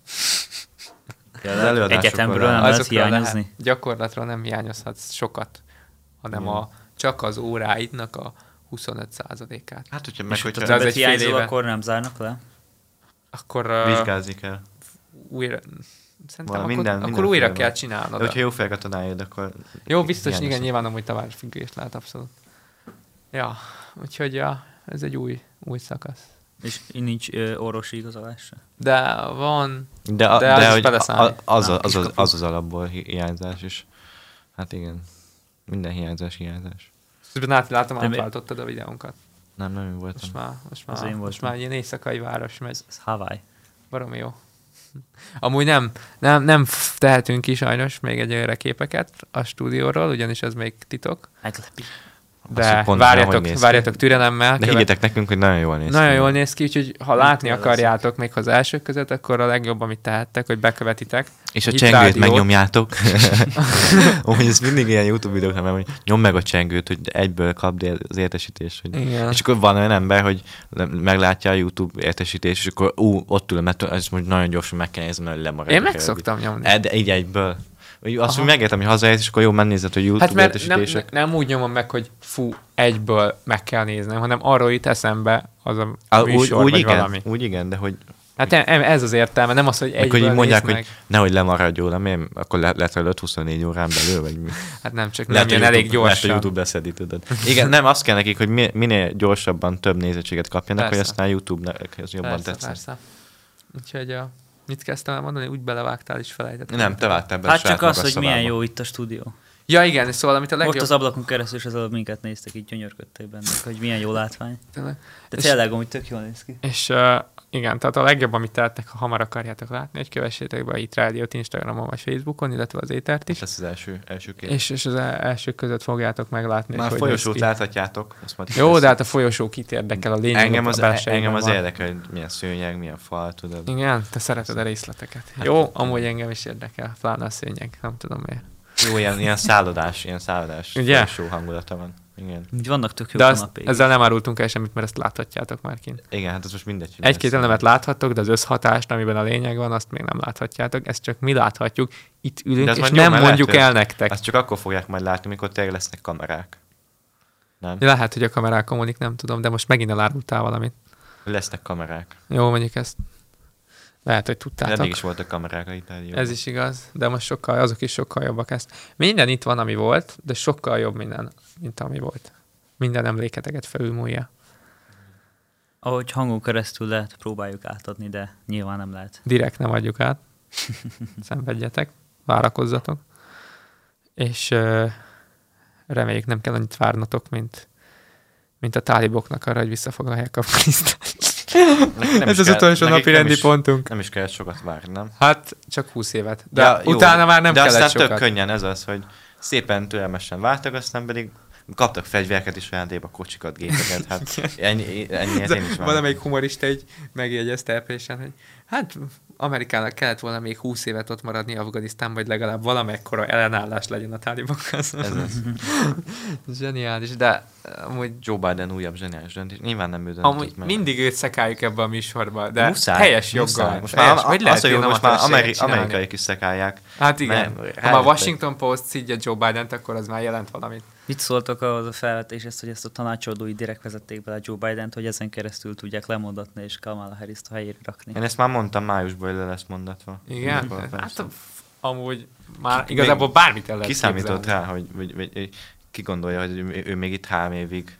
Speaker 3: előadásokon
Speaker 4: Egyetemről nem
Speaker 3: rá.
Speaker 4: lehet
Speaker 2: Azokról
Speaker 4: hiányozni.
Speaker 2: Lehet, gyakorlatról nem hiányozhatsz sokat, hanem a, csak az óráidnak a 25%-át.
Speaker 3: Hát, hogyha meg,
Speaker 2: az
Speaker 3: hogyha
Speaker 2: egy
Speaker 4: Többet
Speaker 2: fél
Speaker 4: hiányzol,
Speaker 2: éve.
Speaker 4: akkor nem zárnak le.
Speaker 2: Akkor uh,
Speaker 3: vizsgázni kell.
Speaker 2: újra... Szerintem
Speaker 3: Val-
Speaker 2: akkor,
Speaker 3: minden-
Speaker 2: minden, akkor újra
Speaker 3: mindenféle van.
Speaker 2: kell
Speaker 3: De
Speaker 2: csinálnod.
Speaker 3: hogyha
Speaker 2: Hogyha...
Speaker 3: jó fejek a tanájod, akkor...
Speaker 2: Jó, biztos, igen,
Speaker 3: hiányozhat.
Speaker 2: nyilván amúgy tanárfüggés lehet abszolút. Ja, úgyhogy ja, ez egy új, új szakasz.
Speaker 4: És így nincs ö, orvosi igazolás se.
Speaker 2: De van,
Speaker 3: De, a,
Speaker 2: De
Speaker 3: de,
Speaker 2: az is
Speaker 3: hogy
Speaker 2: beleszámít.
Speaker 3: a- az,
Speaker 4: Na,
Speaker 3: az, az,
Speaker 4: kiskapu.
Speaker 3: az, az, az alapból hi- hiányzás is. Hát igen. Minden hiányzás, hiányzás.
Speaker 2: közben át- látom,
Speaker 4: De mi-
Speaker 2: átváltottad a videónkat.
Speaker 3: Nem, nem én voltam.
Speaker 2: Most már, most
Speaker 4: Az
Speaker 2: már,
Speaker 4: én
Speaker 2: most
Speaker 4: voltam.
Speaker 2: már ilyen éjszakai város megy.
Speaker 4: Ez Hawaii.
Speaker 2: Baromi jó. <laughs> Amúgy nem, nem, nem f- tehetünk ki sajnos még egy olyan képeket a stúdióról, ugyanis ez még titok.
Speaker 4: Meglepi.
Speaker 2: De
Speaker 3: pont nem, hogy
Speaker 2: várjatok,
Speaker 3: néz
Speaker 2: várjatok türelemmel.
Speaker 3: De
Speaker 2: követ-
Speaker 3: higgyetek nekünk, hogy nagyon jól néz
Speaker 2: Nagyon
Speaker 3: ki.
Speaker 2: jól néz ki, úgyhogy ha látni
Speaker 4: kell lesz.
Speaker 2: akarjátok még az elsők között, akkor a legjobb, amit tehettek, hogy bekövetitek.
Speaker 3: És a
Speaker 2: Hit
Speaker 3: csengőt
Speaker 2: rádiót. <laughs>
Speaker 3: megnyomjátok. Úgy ez mindig ilyen YouTube videóknál, mert hogy nyom meg a csengőt, hogy egyből kapd el az értesítést. Hogy...
Speaker 2: Igen.
Speaker 3: És akkor van olyan ember, hogy le- meglátja a YouTube értesítést, és akkor ú, ott ül, mert ezt most nagyon gyorsan meg kell nézni, mert lemarad.
Speaker 2: Én meg szoktam nyomni.
Speaker 3: E, de így egyből. Úgy Azt, hogy megértem, hogy hazaérsz, és akkor jó, megnézed, hogy YouTube
Speaker 2: Hát mert nem,
Speaker 3: értesítések.
Speaker 2: nem úgy nyomom meg, hogy fú, egyből meg kell néznem, hanem arról itt eszembe az a
Speaker 3: Á, úgy,
Speaker 2: műsor,
Speaker 3: úgy,
Speaker 2: vagy
Speaker 3: igen,
Speaker 2: valami.
Speaker 3: úgy igen, de hogy
Speaker 2: Hát nem, ez az értelme, nem az, hogy
Speaker 3: Mikor
Speaker 2: egyből
Speaker 3: így mondják,
Speaker 2: nézd
Speaker 3: hogy
Speaker 2: meg.
Speaker 3: nehogy lemaradjon, nem én, akkor le, letölött 24 órán belül, vagy mi?
Speaker 2: Hát nem, csak nem
Speaker 3: Lehet,
Speaker 2: jön
Speaker 3: hogy
Speaker 2: elég
Speaker 3: YouTube- Lehet,
Speaker 2: gyorsan.
Speaker 3: hogy YouTube leszedi, tudod. Igen, nem, azt kell nekik, hogy mi- minél gyorsabban több nézettséget kapjanak,
Speaker 2: Persze.
Speaker 3: hogy aztán YouTube-nek ez jobban
Speaker 2: persze,
Speaker 3: tetszik.
Speaker 2: Persze. Úgyhogy a, mit kezdtem el mondani, úgy belevágtál és felejtettem.
Speaker 3: Nem, te vágtál be a
Speaker 4: Hát csak
Speaker 3: sajátnak
Speaker 4: az,
Speaker 3: a
Speaker 4: hogy milyen
Speaker 3: szobába.
Speaker 4: jó itt a stúdió.
Speaker 2: Ja igen, szóval amit a
Speaker 4: Most
Speaker 2: legjobb...
Speaker 4: az ablakon keresztül is az előbb minket néztek, így gyönyörködtek benne, hogy milyen jó látvány.
Speaker 2: Tényleg.
Speaker 4: De
Speaker 2: És-
Speaker 4: tényleg, amúgy tök jól néz ki.
Speaker 2: És uh, igen, tehát a legjobb, amit tehettek, ha hamar akarjátok látni, hogy kövessétek be a itt rádiót Instagramon vagy Facebookon, illetve az étert
Speaker 3: És
Speaker 2: is.
Speaker 3: Hát ez az első, első két.
Speaker 2: És, és az el- elsők között fogjátok meglátni.
Speaker 3: Már
Speaker 2: hogy
Speaker 3: folyosót
Speaker 2: néz ki.
Speaker 3: láthatjátok. azt majd
Speaker 2: Jó,
Speaker 3: kiteszem.
Speaker 2: de hát a folyosó kit érdekel a lényeg.
Speaker 3: engem
Speaker 2: ott
Speaker 3: az, e-
Speaker 2: a belsejében
Speaker 3: engem az
Speaker 2: van.
Speaker 3: érdekel, hogy milyen szőnyeg, milyen fal, tudod.
Speaker 2: Igen, te szereted a részleteket.
Speaker 3: Hát
Speaker 2: Jó, amúgy engem is érdekel, pláne a szőnyeg, nem tudom miért.
Speaker 3: Jó, ilyen, ilyen szállodás, ilyen szállodás
Speaker 2: Ugye?
Speaker 3: folyosó hangulata van. Igen.
Speaker 4: Így vannak tök jó
Speaker 2: De azt,
Speaker 4: kanapék.
Speaker 2: ezzel nem árultunk el semmit, mert ezt láthatjátok már kint.
Speaker 3: Igen, hát ez most mindegy. hogy
Speaker 2: Egy-két
Speaker 3: lesz.
Speaker 2: elemet láthattok, de az összhatást, amiben a lényeg van, azt még nem láthatjátok. Ezt csak mi láthatjuk. Itt ülünk,
Speaker 3: De az
Speaker 2: és
Speaker 3: majd jó,
Speaker 2: nem
Speaker 3: mert
Speaker 2: mondjuk
Speaker 3: lehet,
Speaker 2: el
Speaker 3: hogy
Speaker 2: nektek.
Speaker 3: Ezt csak akkor fogják majd látni, mikor tényleg lesznek kamerák. Nem?
Speaker 2: Lehet, hogy a kamerák kommunik, nem tudom, de most megint elárultál valamit.
Speaker 3: Lesznek kamerák.
Speaker 2: Jó, mondjuk ezt. Lehet, hogy
Speaker 3: De
Speaker 2: tudtátok.
Speaker 3: mégis voltak kamerák a Itáliában.
Speaker 2: Ez is igaz, de most sokkal, azok is sokkal jobbak ezt. Minden itt van, ami volt, de sokkal jobb minden, mint ami volt. Minden emléketeket felülmúlja.
Speaker 4: Ahogy hangon keresztül lehet, próbáljuk átadni, de nyilván nem lehet.
Speaker 2: direkt nem adjuk
Speaker 3: <laughs>
Speaker 2: át. Szenvedjetek, várakozzatok. És ö, reméljük nem kell annyit várnatok, mint, mint a táliboknak arra, hogy visszafoglalják a Afganisztánt.
Speaker 3: Nem
Speaker 2: Ez
Speaker 3: is
Speaker 2: az
Speaker 3: kell-
Speaker 2: utolsó
Speaker 3: nekik
Speaker 2: napi
Speaker 3: nem
Speaker 2: rendi
Speaker 3: is-
Speaker 2: pontunk.
Speaker 3: Nem is kell sokat várni, nem?
Speaker 2: Hát csak 20 évet. De ja, utána
Speaker 3: jó,
Speaker 2: már nem
Speaker 3: de
Speaker 2: kellett
Speaker 3: aztán
Speaker 2: sokat.
Speaker 3: tök könnyen ez az, hogy szépen türelmesen vártak, aztán pedig kaptak fegyvereket is ajándékba, kocsikat, gépeket,
Speaker 2: <laughs>
Speaker 3: hát ennyi, ennyi ez én is várom.
Speaker 2: Valamelyik humorista így megjegyezte epésen, hogy hát Amerikának kellett volna még 20 évet ott maradni Afganisztán, vagy legalább valamekkora ellenállás legyen a tálibokkal.
Speaker 3: Ez az.
Speaker 2: <laughs> Zseniális, de amúgy,
Speaker 3: Joe Biden újabb zseniális döntés. Nyilván nem ő döntött
Speaker 2: amúgy
Speaker 3: meg.
Speaker 2: mindig őt szekáljuk ebbe a műsorba, de
Speaker 3: Muszáj,
Speaker 2: helyes
Speaker 3: muszáj.
Speaker 2: joggal.
Speaker 3: Most
Speaker 2: helyes,
Speaker 3: már,
Speaker 2: hogy
Speaker 3: hogy
Speaker 2: lehet
Speaker 3: az a jó,
Speaker 2: ilyen
Speaker 3: hogy most már
Speaker 2: amatőrséget
Speaker 3: ameri-
Speaker 2: csinálni?
Speaker 3: amerikaiak is szekálják.
Speaker 2: Hát igen,
Speaker 3: Nem,
Speaker 2: ha már
Speaker 3: rájöttek.
Speaker 2: Washington Post szidja Joe Biden-t, akkor az már jelent valamit.
Speaker 4: Mit szóltok ahhoz a felvetéshez, hogy ezt a tanácsadói direkt vezették bele Joe Biden-t, hogy ezen keresztül tudják lemondatni és Kamala Harris-t a helyére rakni?
Speaker 3: Én ezt már mondtam, májusban le lesz mondatva.
Speaker 2: Igen?
Speaker 3: Mikor,
Speaker 2: Hát
Speaker 3: persze.
Speaker 2: a- amúgy már igazából bármit el lehet
Speaker 3: Ki számított
Speaker 2: képzelni.
Speaker 3: rá, hogy, hogy, hogy, hogy ki gondolja, hogy ő, ő még itt három évig,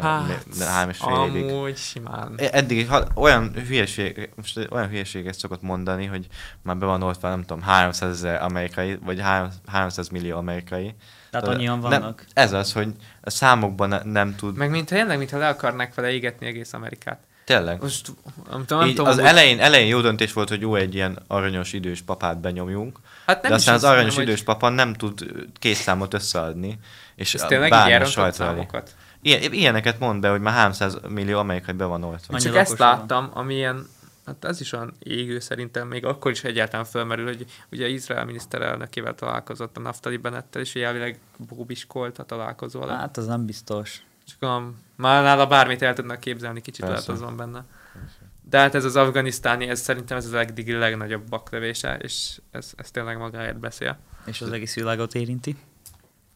Speaker 2: Hát,
Speaker 3: de három és fél évig. E,
Speaker 2: amúgy simán.
Speaker 3: Eddig ha, olyan, hülyeség, most olyan hülyeséget szokott mondani, hogy már be van oltva, nem tudom, 300 ezer amerikai, vagy három- 300 millió amerikai.
Speaker 4: Tehát
Speaker 3: Tudod,
Speaker 4: annyian
Speaker 3: Nem,
Speaker 4: vannak.
Speaker 3: ez az, hogy a számokban ne, nem tud. Meg
Speaker 2: Meg mint tényleg, mintha le akarnák vele égetni egész Amerikát.
Speaker 3: Tényleg.
Speaker 2: Most nem tudom, nem
Speaker 3: Így
Speaker 2: tudom,
Speaker 3: az
Speaker 2: hogy-
Speaker 3: elején, elején jó döntés volt, hogy jó egy ilyen aranyos idős papát benyomjunk,
Speaker 2: Hát
Speaker 3: hát
Speaker 2: nem
Speaker 3: de
Speaker 2: is
Speaker 3: aztán az
Speaker 2: azt
Speaker 3: aranyos
Speaker 2: mondom,
Speaker 3: idős
Speaker 2: hogy-
Speaker 3: papa nem tud két számot összeadni. És
Speaker 2: ez
Speaker 3: a-
Speaker 2: tényleg így
Speaker 3: bármi
Speaker 2: elrontott
Speaker 3: sajtra elé.
Speaker 2: számokat.
Speaker 3: Ilyen, ilyeneket mond be, hogy már 300 millió amerikai be van oltva.
Speaker 4: Annyi
Speaker 2: Csak
Speaker 4: lakosa
Speaker 2: ezt
Speaker 4: van.
Speaker 2: láttam, ami ilyen, hát ez is olyan égő szerintem, még akkor is egyáltalán fölmerül, hogy ugye Izrael miniszterelnökével találkozott a Naftali Bennettel, és ugye elvileg bóbiskolt a találkozó alatt.
Speaker 4: Hát az nem biztos.
Speaker 2: Csak a, már nála bármit el tudnak képzelni, kicsit Persze. lehet
Speaker 3: Persze.
Speaker 2: az van benne. De hát ez az afganisztáni, ez szerintem ez az eddig legnagyobb baklövése, és ez, ez tényleg magáért beszél.
Speaker 4: És az egész világot érinti.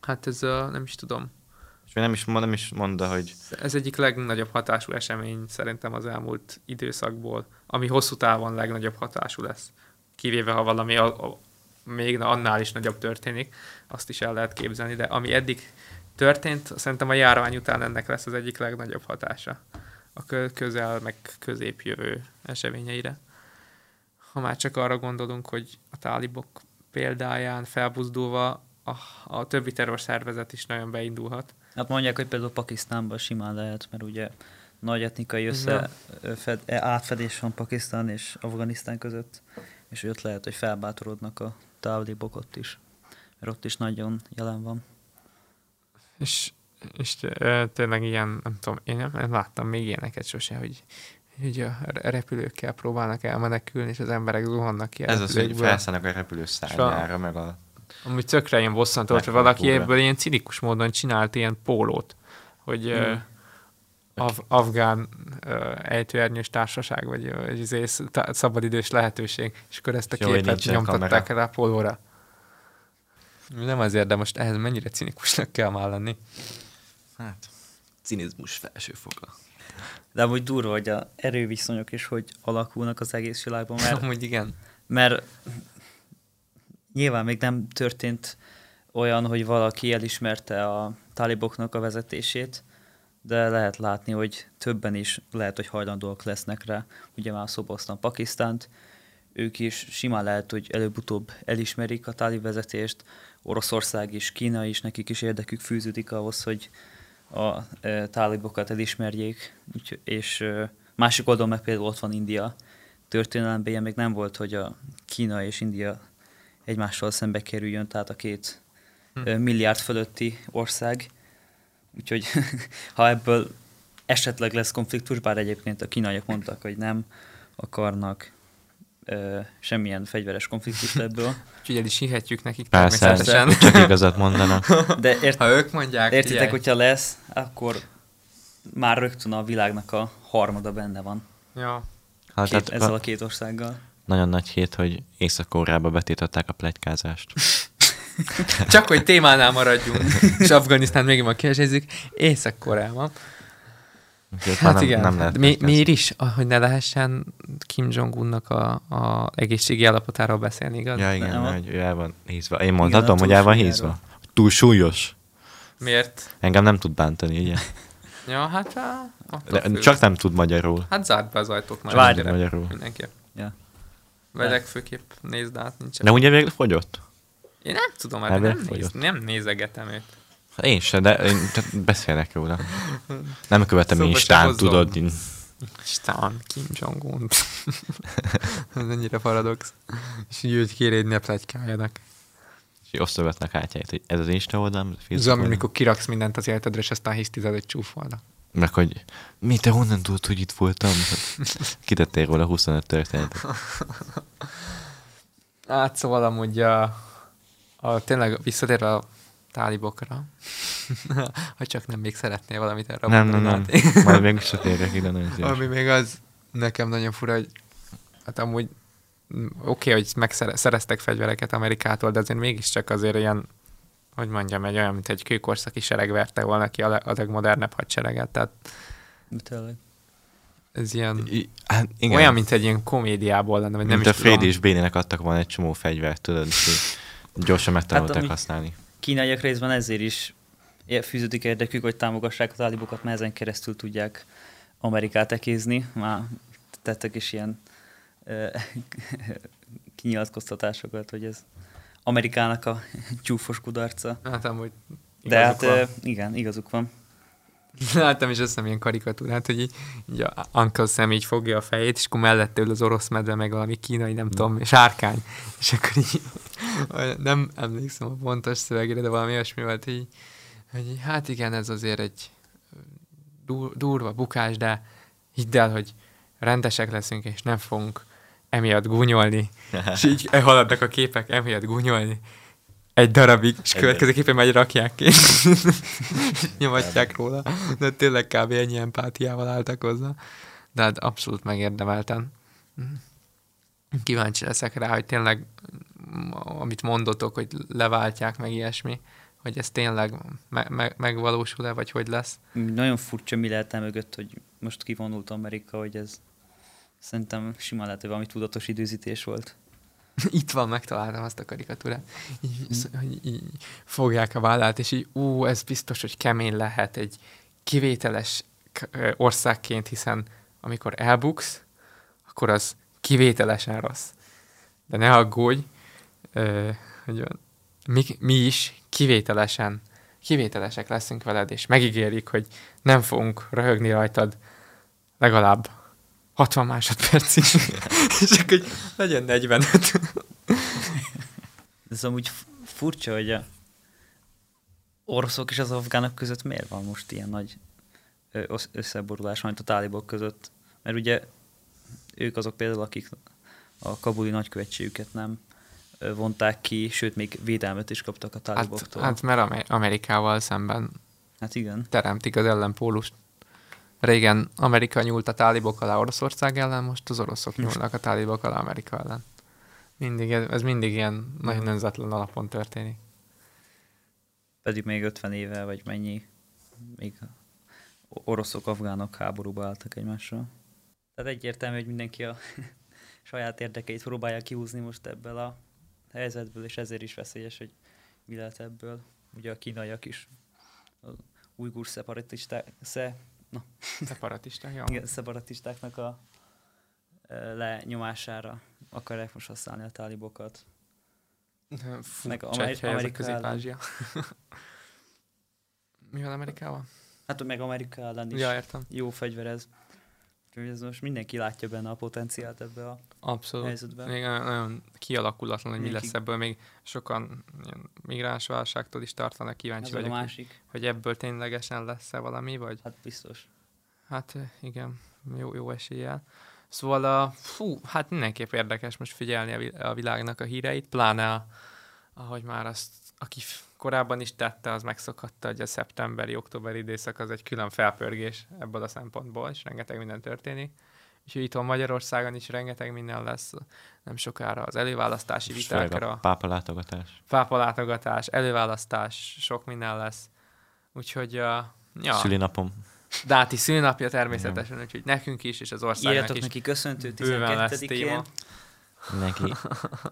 Speaker 2: Hát ez a, nem is tudom.
Speaker 3: És még nem is, mond- nem is mondta, hogy
Speaker 2: Ez egyik legnagyobb hatású esemény szerintem az elmúlt időszakból, ami hosszú távon legnagyobb hatású lesz. Kivéve, ha valami a, a, még annál is nagyobb történik, azt is el lehet képzelni, de ami eddig történt, szerintem a járvány után ennek lesz az egyik legnagyobb hatása a kö- közel, meg középjövő eseményeire. Ha már csak arra gondolunk, hogy a tálibok példáján felbuzdulva a, a többi terrorszervezet is nagyon beindulhat.
Speaker 4: Hát mondják, hogy például Pakisztánban simán lehet, mert ugye nagy etnikai össze, fed, e, átfedés van Pakisztán és Afganisztán között, és ott lehet, hogy felbátorodnak a távlibok ott is, mert ott is nagyon jelen van.
Speaker 2: És, és ö, tényleg ilyen, nem tudom, én nem, nem láttam még ilyeneket sose, hogy hogy a r- repülőkkel próbálnak elmenekülni, és az emberek zuhannak ki a
Speaker 3: ez az, hogy
Speaker 2: repülőkből.
Speaker 3: felszállnak a repülő szárnyára, meg a...
Speaker 2: Amúgy tökre ilyen bosszantó, hogy
Speaker 3: Megfogóra.
Speaker 2: valaki ebből ilyen cinikus módon csinált ilyen pólót, hogy mm. af- afgán ö, ejtőernyős társaság, vagy ö, egy izé sz- tá- szabadidős lehetőség, és akkor ezt a
Speaker 3: Jó, hogy
Speaker 2: képet
Speaker 3: nincsen
Speaker 2: nyomtatták
Speaker 3: kamera.
Speaker 2: rá a pólóra. Nem azért, de most ehhez mennyire cinikusnak kell már lenni.
Speaker 3: Hát, cinizmus felsőfoka.
Speaker 4: De amúgy durva, hogy a erőviszonyok is hogy alakulnak az egész világban, mert
Speaker 2: Amúgy igen.
Speaker 4: Mert nyilván még nem történt olyan, hogy valaki elismerte a táliboknak a vezetését, de lehet látni, hogy többen is lehet, hogy hajlandóak lesznek rá. Ugye már szoboztam Pakisztánt, ők is simán lehet, hogy előbb-utóbb elismerik a tálib vezetést, Oroszország is, Kína is, nekik is érdekük fűződik ahhoz, hogy a e, tálibokat elismerjék, Úgyhogy- és e, másik oldalon meg például ott van India. Történelemben ilyen még nem volt, hogy a Kína és India egymással szembe kerüljön, tehát a két hm. milliárd fölötti ország. Úgyhogy <laughs> ha ebből esetleg lesz konfliktus, bár egyébként a kínaiak mondtak, hogy nem akarnak ö, semmilyen fegyveres konfliktust ebből,
Speaker 2: Úgyhogy el is hihetjük nekik
Speaker 3: Persze,
Speaker 2: természetesen.
Speaker 3: csak igazat mondanak.
Speaker 4: de ért,
Speaker 2: Ha ők mondják,
Speaker 4: Értitek,
Speaker 2: figyelj.
Speaker 4: hogyha lesz, akkor már rögtön a világnak a harmada benne van.
Speaker 2: Ja.
Speaker 3: Hát,
Speaker 4: Két,
Speaker 3: tehát
Speaker 4: ezzel a
Speaker 3: a...
Speaker 4: két országgal.
Speaker 3: Nagyon nagy hét, hogy Észak-Koreába betiltották a plegykázást.
Speaker 2: Csak hogy témánál
Speaker 4: <laughs>
Speaker 2: maradjunk, és Afganisztán még ma kérdezzük, Észak-Koreában.
Speaker 3: Úgyhogy ott
Speaker 2: Hát
Speaker 3: már nem,
Speaker 2: igen,
Speaker 3: nem
Speaker 2: hát
Speaker 3: lehet
Speaker 2: mi,
Speaker 3: pletykázni.
Speaker 2: miért is, Ah, hogy ne lehessen Kim Jong-unnak a, a egészségi állapotáról beszélni, igaz?
Speaker 3: Ja, igen,
Speaker 4: Nem,
Speaker 3: mert hogy ő el van hízva. Én
Speaker 4: Igen,
Speaker 3: mondhatom,
Speaker 4: a
Speaker 3: hogy el van
Speaker 4: túlsúlyáról.
Speaker 3: hízva. Túl súlyos.
Speaker 2: Miért?
Speaker 3: Engem nem tud bántani,
Speaker 2: <laughs>
Speaker 3: ugye?
Speaker 2: Ja, hát á, attól
Speaker 3: De,
Speaker 2: függ.
Speaker 3: csak nem tud magyarul.
Speaker 2: Hát zárd be az ajtót már.
Speaker 4: Várj.
Speaker 2: mindenkire.
Speaker 3: Magyarul.
Speaker 2: Mindenképp.
Speaker 4: Ja.
Speaker 2: Vagy
Speaker 4: Ne.
Speaker 2: legfőképp nézd át, nincs.
Speaker 3: De ugye végül fogyott?
Speaker 2: Én nem tudom, hát
Speaker 3: Nem
Speaker 2: nem, néz,
Speaker 3: lefogyott.
Speaker 2: nem nézegetem őt.
Speaker 3: Hát Én se, de én, tehát beszélnek róla. Nem követem
Speaker 2: Szóba se
Speaker 3: szóval Instán,
Speaker 2: hozzom.
Speaker 3: tudod. Én.
Speaker 2: Isten, Kim <laughs> Jong-un. Ez ennyire paradox. És így őt kérédni a plegykáljanak.
Speaker 3: És osztogatnak hátjait, hogy ez az Insta oldalam, ez a
Speaker 2: Ez
Speaker 3: Facebook
Speaker 2: olyan, mint
Speaker 3: oldalam.
Speaker 2: mikor kiraksz mindent az életedre, és aztán hisz tized, hogy csúfolnak.
Speaker 3: Meg hogy, mi, te honnan tudod, hogy itt voltam? Hát, Kitettél róla 25 történetet.
Speaker 2: Hát szóval amúgy a, a tényleg visszatérve a tálibokra, <laughs> ha csak nem még szeretnél valamit erre
Speaker 3: Nem, nem,
Speaker 2: mondani,
Speaker 3: nem.
Speaker 2: Máté.
Speaker 3: Majd meg is térek ide, nagyon szívesen.
Speaker 2: Ami még az nekem nagyon fura, hogy hát amúgy mm, oké, okay, hogy megszereztek fegyvereket Amerikától, de azért mégiscsak azért ilyen, hogy mondjam, egy olyan, mint egy kőkorszaki sereg verte volna ki a, le- a legmodernebb hadsereget, tehát
Speaker 4: Tényleg.
Speaker 2: ez ilyen,
Speaker 3: I- Hát, igen.
Speaker 2: olyan, mint egy ilyen komédiából lenne, vagy nem
Speaker 3: Mint
Speaker 2: is
Speaker 3: a Frédi
Speaker 2: tudom.
Speaker 3: és Bénének adtak volna egy csomó fegyvert, tudod, és így gyorsan megtanulták
Speaker 2: Hát,
Speaker 4: ami-
Speaker 3: használni.
Speaker 4: Kínaiak részben ezért is é- fűződik érdekük, hogy támogassák a tálibokat, mert ezen keresztül tudják Amerikát ekézni. Már tettek is ilyen ö, <laughs> kinyilatkoztatásokat, hogy ez Amerikának a <laughs> csúfos kudarca.
Speaker 2: Hát amúgy
Speaker 4: De hát
Speaker 2: igazuk van.
Speaker 4: ö, igen, igazuk van.
Speaker 2: <laughs> Láttam is azt hiszem ilyen karikatúrát, hogy így, így a Uncle Sam így fogja a fejét, és akkor mellette ül az orosz medve, meg valami kínai, nem tudom, sárkány. És akkor így, olyan- nem emlékszem a pontos szövegére, de valami olyasmi volt, így, hogy így, hát igen, ez azért egy eh, dur- durva bukás, de hidd el, hogy rendesek leszünk, és nem fogunk emiatt gúnyolni. És így eh, haladnak a képek, emiatt gúnyolni. Egy darabig, és
Speaker 3: Egy
Speaker 2: következő képen megy rakják ki. nyomatják róla. De tényleg kb. ennyi empátiával álltak hozzá. De hát abszolút megérdemelten. Kíváncsi leszek rá, hogy tényleg mm, amit mondotok, hogy leváltják meg ilyesmi, hogy ez tényleg me- me- megvalósul-e, vagy hogy lesz.
Speaker 4: Nagyon furcsa, mi lehet el mögött, hogy most kivonult Amerika, hogy ez szerintem simán lehet, hogy valami tudatos időzítés volt.
Speaker 2: <laughs> Itt van, megtaláltam azt a karikatúrát. Így, sz- hogy így fogják a vállát, és így, ú, ez biztos, hogy kemény lehet egy kivételes k- ö, országként, hiszen amikor elbuksz, akkor az kivételesen rossz. De ne aggódj, ö, hogy van, mi, mi is kivételesen, kivételesek leszünk veled, és megígérik, hogy nem fogunk röhögni rajtad legalább 60 másodpercig, <laughs> és akkor hogy legyen 45.
Speaker 4: Ez amúgy f- furcsa, hogy a oroszok és az afgánok között miért van most ilyen nagy ö, osz- összeborulás, majd a tálibok között. Mert ugye ők azok például, akik a kabuli nagykövetségüket nem ö, vonták ki, sőt, még védelmet is kaptak a
Speaker 2: Hát,
Speaker 4: táliboktól. Hát,
Speaker 2: hát mert Amer- Amerikával szemben
Speaker 4: hát igen.
Speaker 2: teremtik az ellenpólust. Régen Amerika nyúlt a tálibok alá Oroszország ellen, most az oroszok nyúlnak a tálibok alá Amerika ellen. Mindig, ez ez mindig ilyen nagyon önzetlen alapon történik.
Speaker 4: Pedig még 50 éve, vagy mennyi, még oroszok-afgánok háborúba álltak egymással. Tehát egyértelmű, hogy mindenki a <laughs> saját érdekeit próbálja kihúzni most ebből a helyzetből, és ezért is veszélyes, hogy mi lehet ebből. Ugye a kínaiak is, az ujgur szeparatisták, sze, na,
Speaker 2: Szeparatisták, jó?
Speaker 4: igen, szeparatistáknak a ö, lenyomására akarják most használni a tálibokat.
Speaker 2: Fú, Meg
Speaker 4: Meg Ameri-
Speaker 2: Amerika ez a
Speaker 4: Amerika
Speaker 2: közép-ázsia. <laughs> Mi van Amerikával?
Speaker 4: Hát meg Amerika ellen is.
Speaker 2: Ja, értem.
Speaker 4: jó fegyver ez. Úgyhogy ez most mindenki látja benne a potenciált ebbe a
Speaker 2: Abszolút.
Speaker 4: helyzetben.
Speaker 2: Még nagyon- nagyon kialakulatlan, hogy mi
Speaker 4: Mindenki-
Speaker 2: lesz ebből. Még sokan ilyen migránsválságtól is tartanak. Kíváncsi
Speaker 4: Ez a
Speaker 2: vagyok, hogy-
Speaker 4: másik,
Speaker 2: hogy ebből ténylegesen lesz-e valami, vagy
Speaker 4: hát biztos.
Speaker 2: Hát eh, igen, jó, jó eséllyel. Szóval, a, fú, hát mindenképp érdekes most figyelni a, vi- a világnak a híreit, pláne a, ahogy már azt, aki f- korábban is tette, az megszokhatta, hogy a szeptemberi, októberi időszak az egy külön felpörgés ebből a szempontból, és rengeteg minden történik. És itt a Magyarországon is rengeteg minden lesz nem sokára az előválasztási
Speaker 3: És főleg
Speaker 2: vitákra
Speaker 3: a pápa látogatás.
Speaker 2: pápa látogatás, előválasztás, sok minden lesz. Úgyhogy, uh, ja,
Speaker 3: Szülinapom.
Speaker 2: Dáti szülnapja természetesen, úgyhogy nekünk is, és az országnak
Speaker 4: Írjatok
Speaker 2: is.
Speaker 4: neki köszöntő
Speaker 2: bőven lesz téma.
Speaker 4: 12-én.
Speaker 2: <laughs>
Speaker 3: Mindenki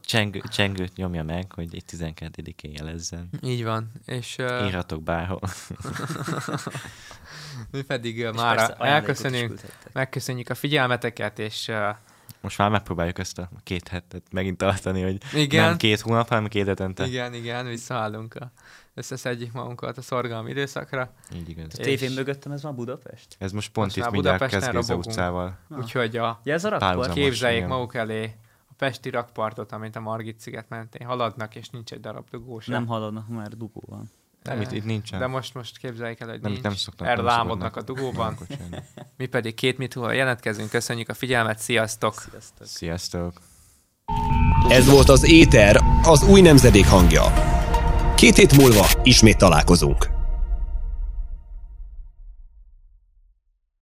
Speaker 3: csengő, csengőt nyomja meg, hogy egy 12-én jelezzen.
Speaker 2: Így van. És uh,
Speaker 3: Írhatok bárhol.
Speaker 2: mi pedig uh,
Speaker 4: És
Speaker 2: már
Speaker 4: persze ajándékot is
Speaker 2: elköszönünk,
Speaker 4: küldhettek.
Speaker 2: megköszönjük a figyelmeteket, és uh,
Speaker 3: most már megpróbáljuk ezt a két hetet megint tartani, hogy
Speaker 2: Igen.
Speaker 3: nem két hónap, hanem két hetente.
Speaker 2: Igen, igen, visszaállunk. A, összeszedjük magunkat a szorgalmi időszakra.
Speaker 3: Így igaz.
Speaker 4: A
Speaker 2: És-
Speaker 4: tévén mögöttem ez van Budapest?
Speaker 3: Ez most pont
Speaker 2: Most
Speaker 3: itt
Speaker 2: már
Speaker 3: mindjárt
Speaker 2: Budapesten
Speaker 3: Keszgéza
Speaker 2: robogunk.
Speaker 3: utcával.
Speaker 2: Úgyhogy a
Speaker 4: Ja, ez a rakpart?
Speaker 3: Párhuzamos.
Speaker 2: képzeljék
Speaker 3: igen.
Speaker 2: maguk elé a Pesti rakpartot, amit a Margit sziget mentén haladnak, és nincs egy darab dugó sem.
Speaker 4: Nem haladnak, már dugó van.
Speaker 3: Nem, itt, itt nincsen.
Speaker 2: De most, most képzeljék el, hogy
Speaker 3: nem,
Speaker 2: nincs.
Speaker 3: itt nem szoknak.
Speaker 2: Erre
Speaker 3: nem
Speaker 2: lámodnak a
Speaker 3: szoknak
Speaker 2: dugóban.
Speaker 3: ilyenkor csinálni.
Speaker 2: Mi pedig két mit hol jelentkezünk. Köszönjük a figyelmet, sziasztok!
Speaker 4: Sziasztok.
Speaker 3: Sziasztok.
Speaker 1: Ez volt az Éter, az új nemzedék hangja. Két hét múlva ismét találkozunk.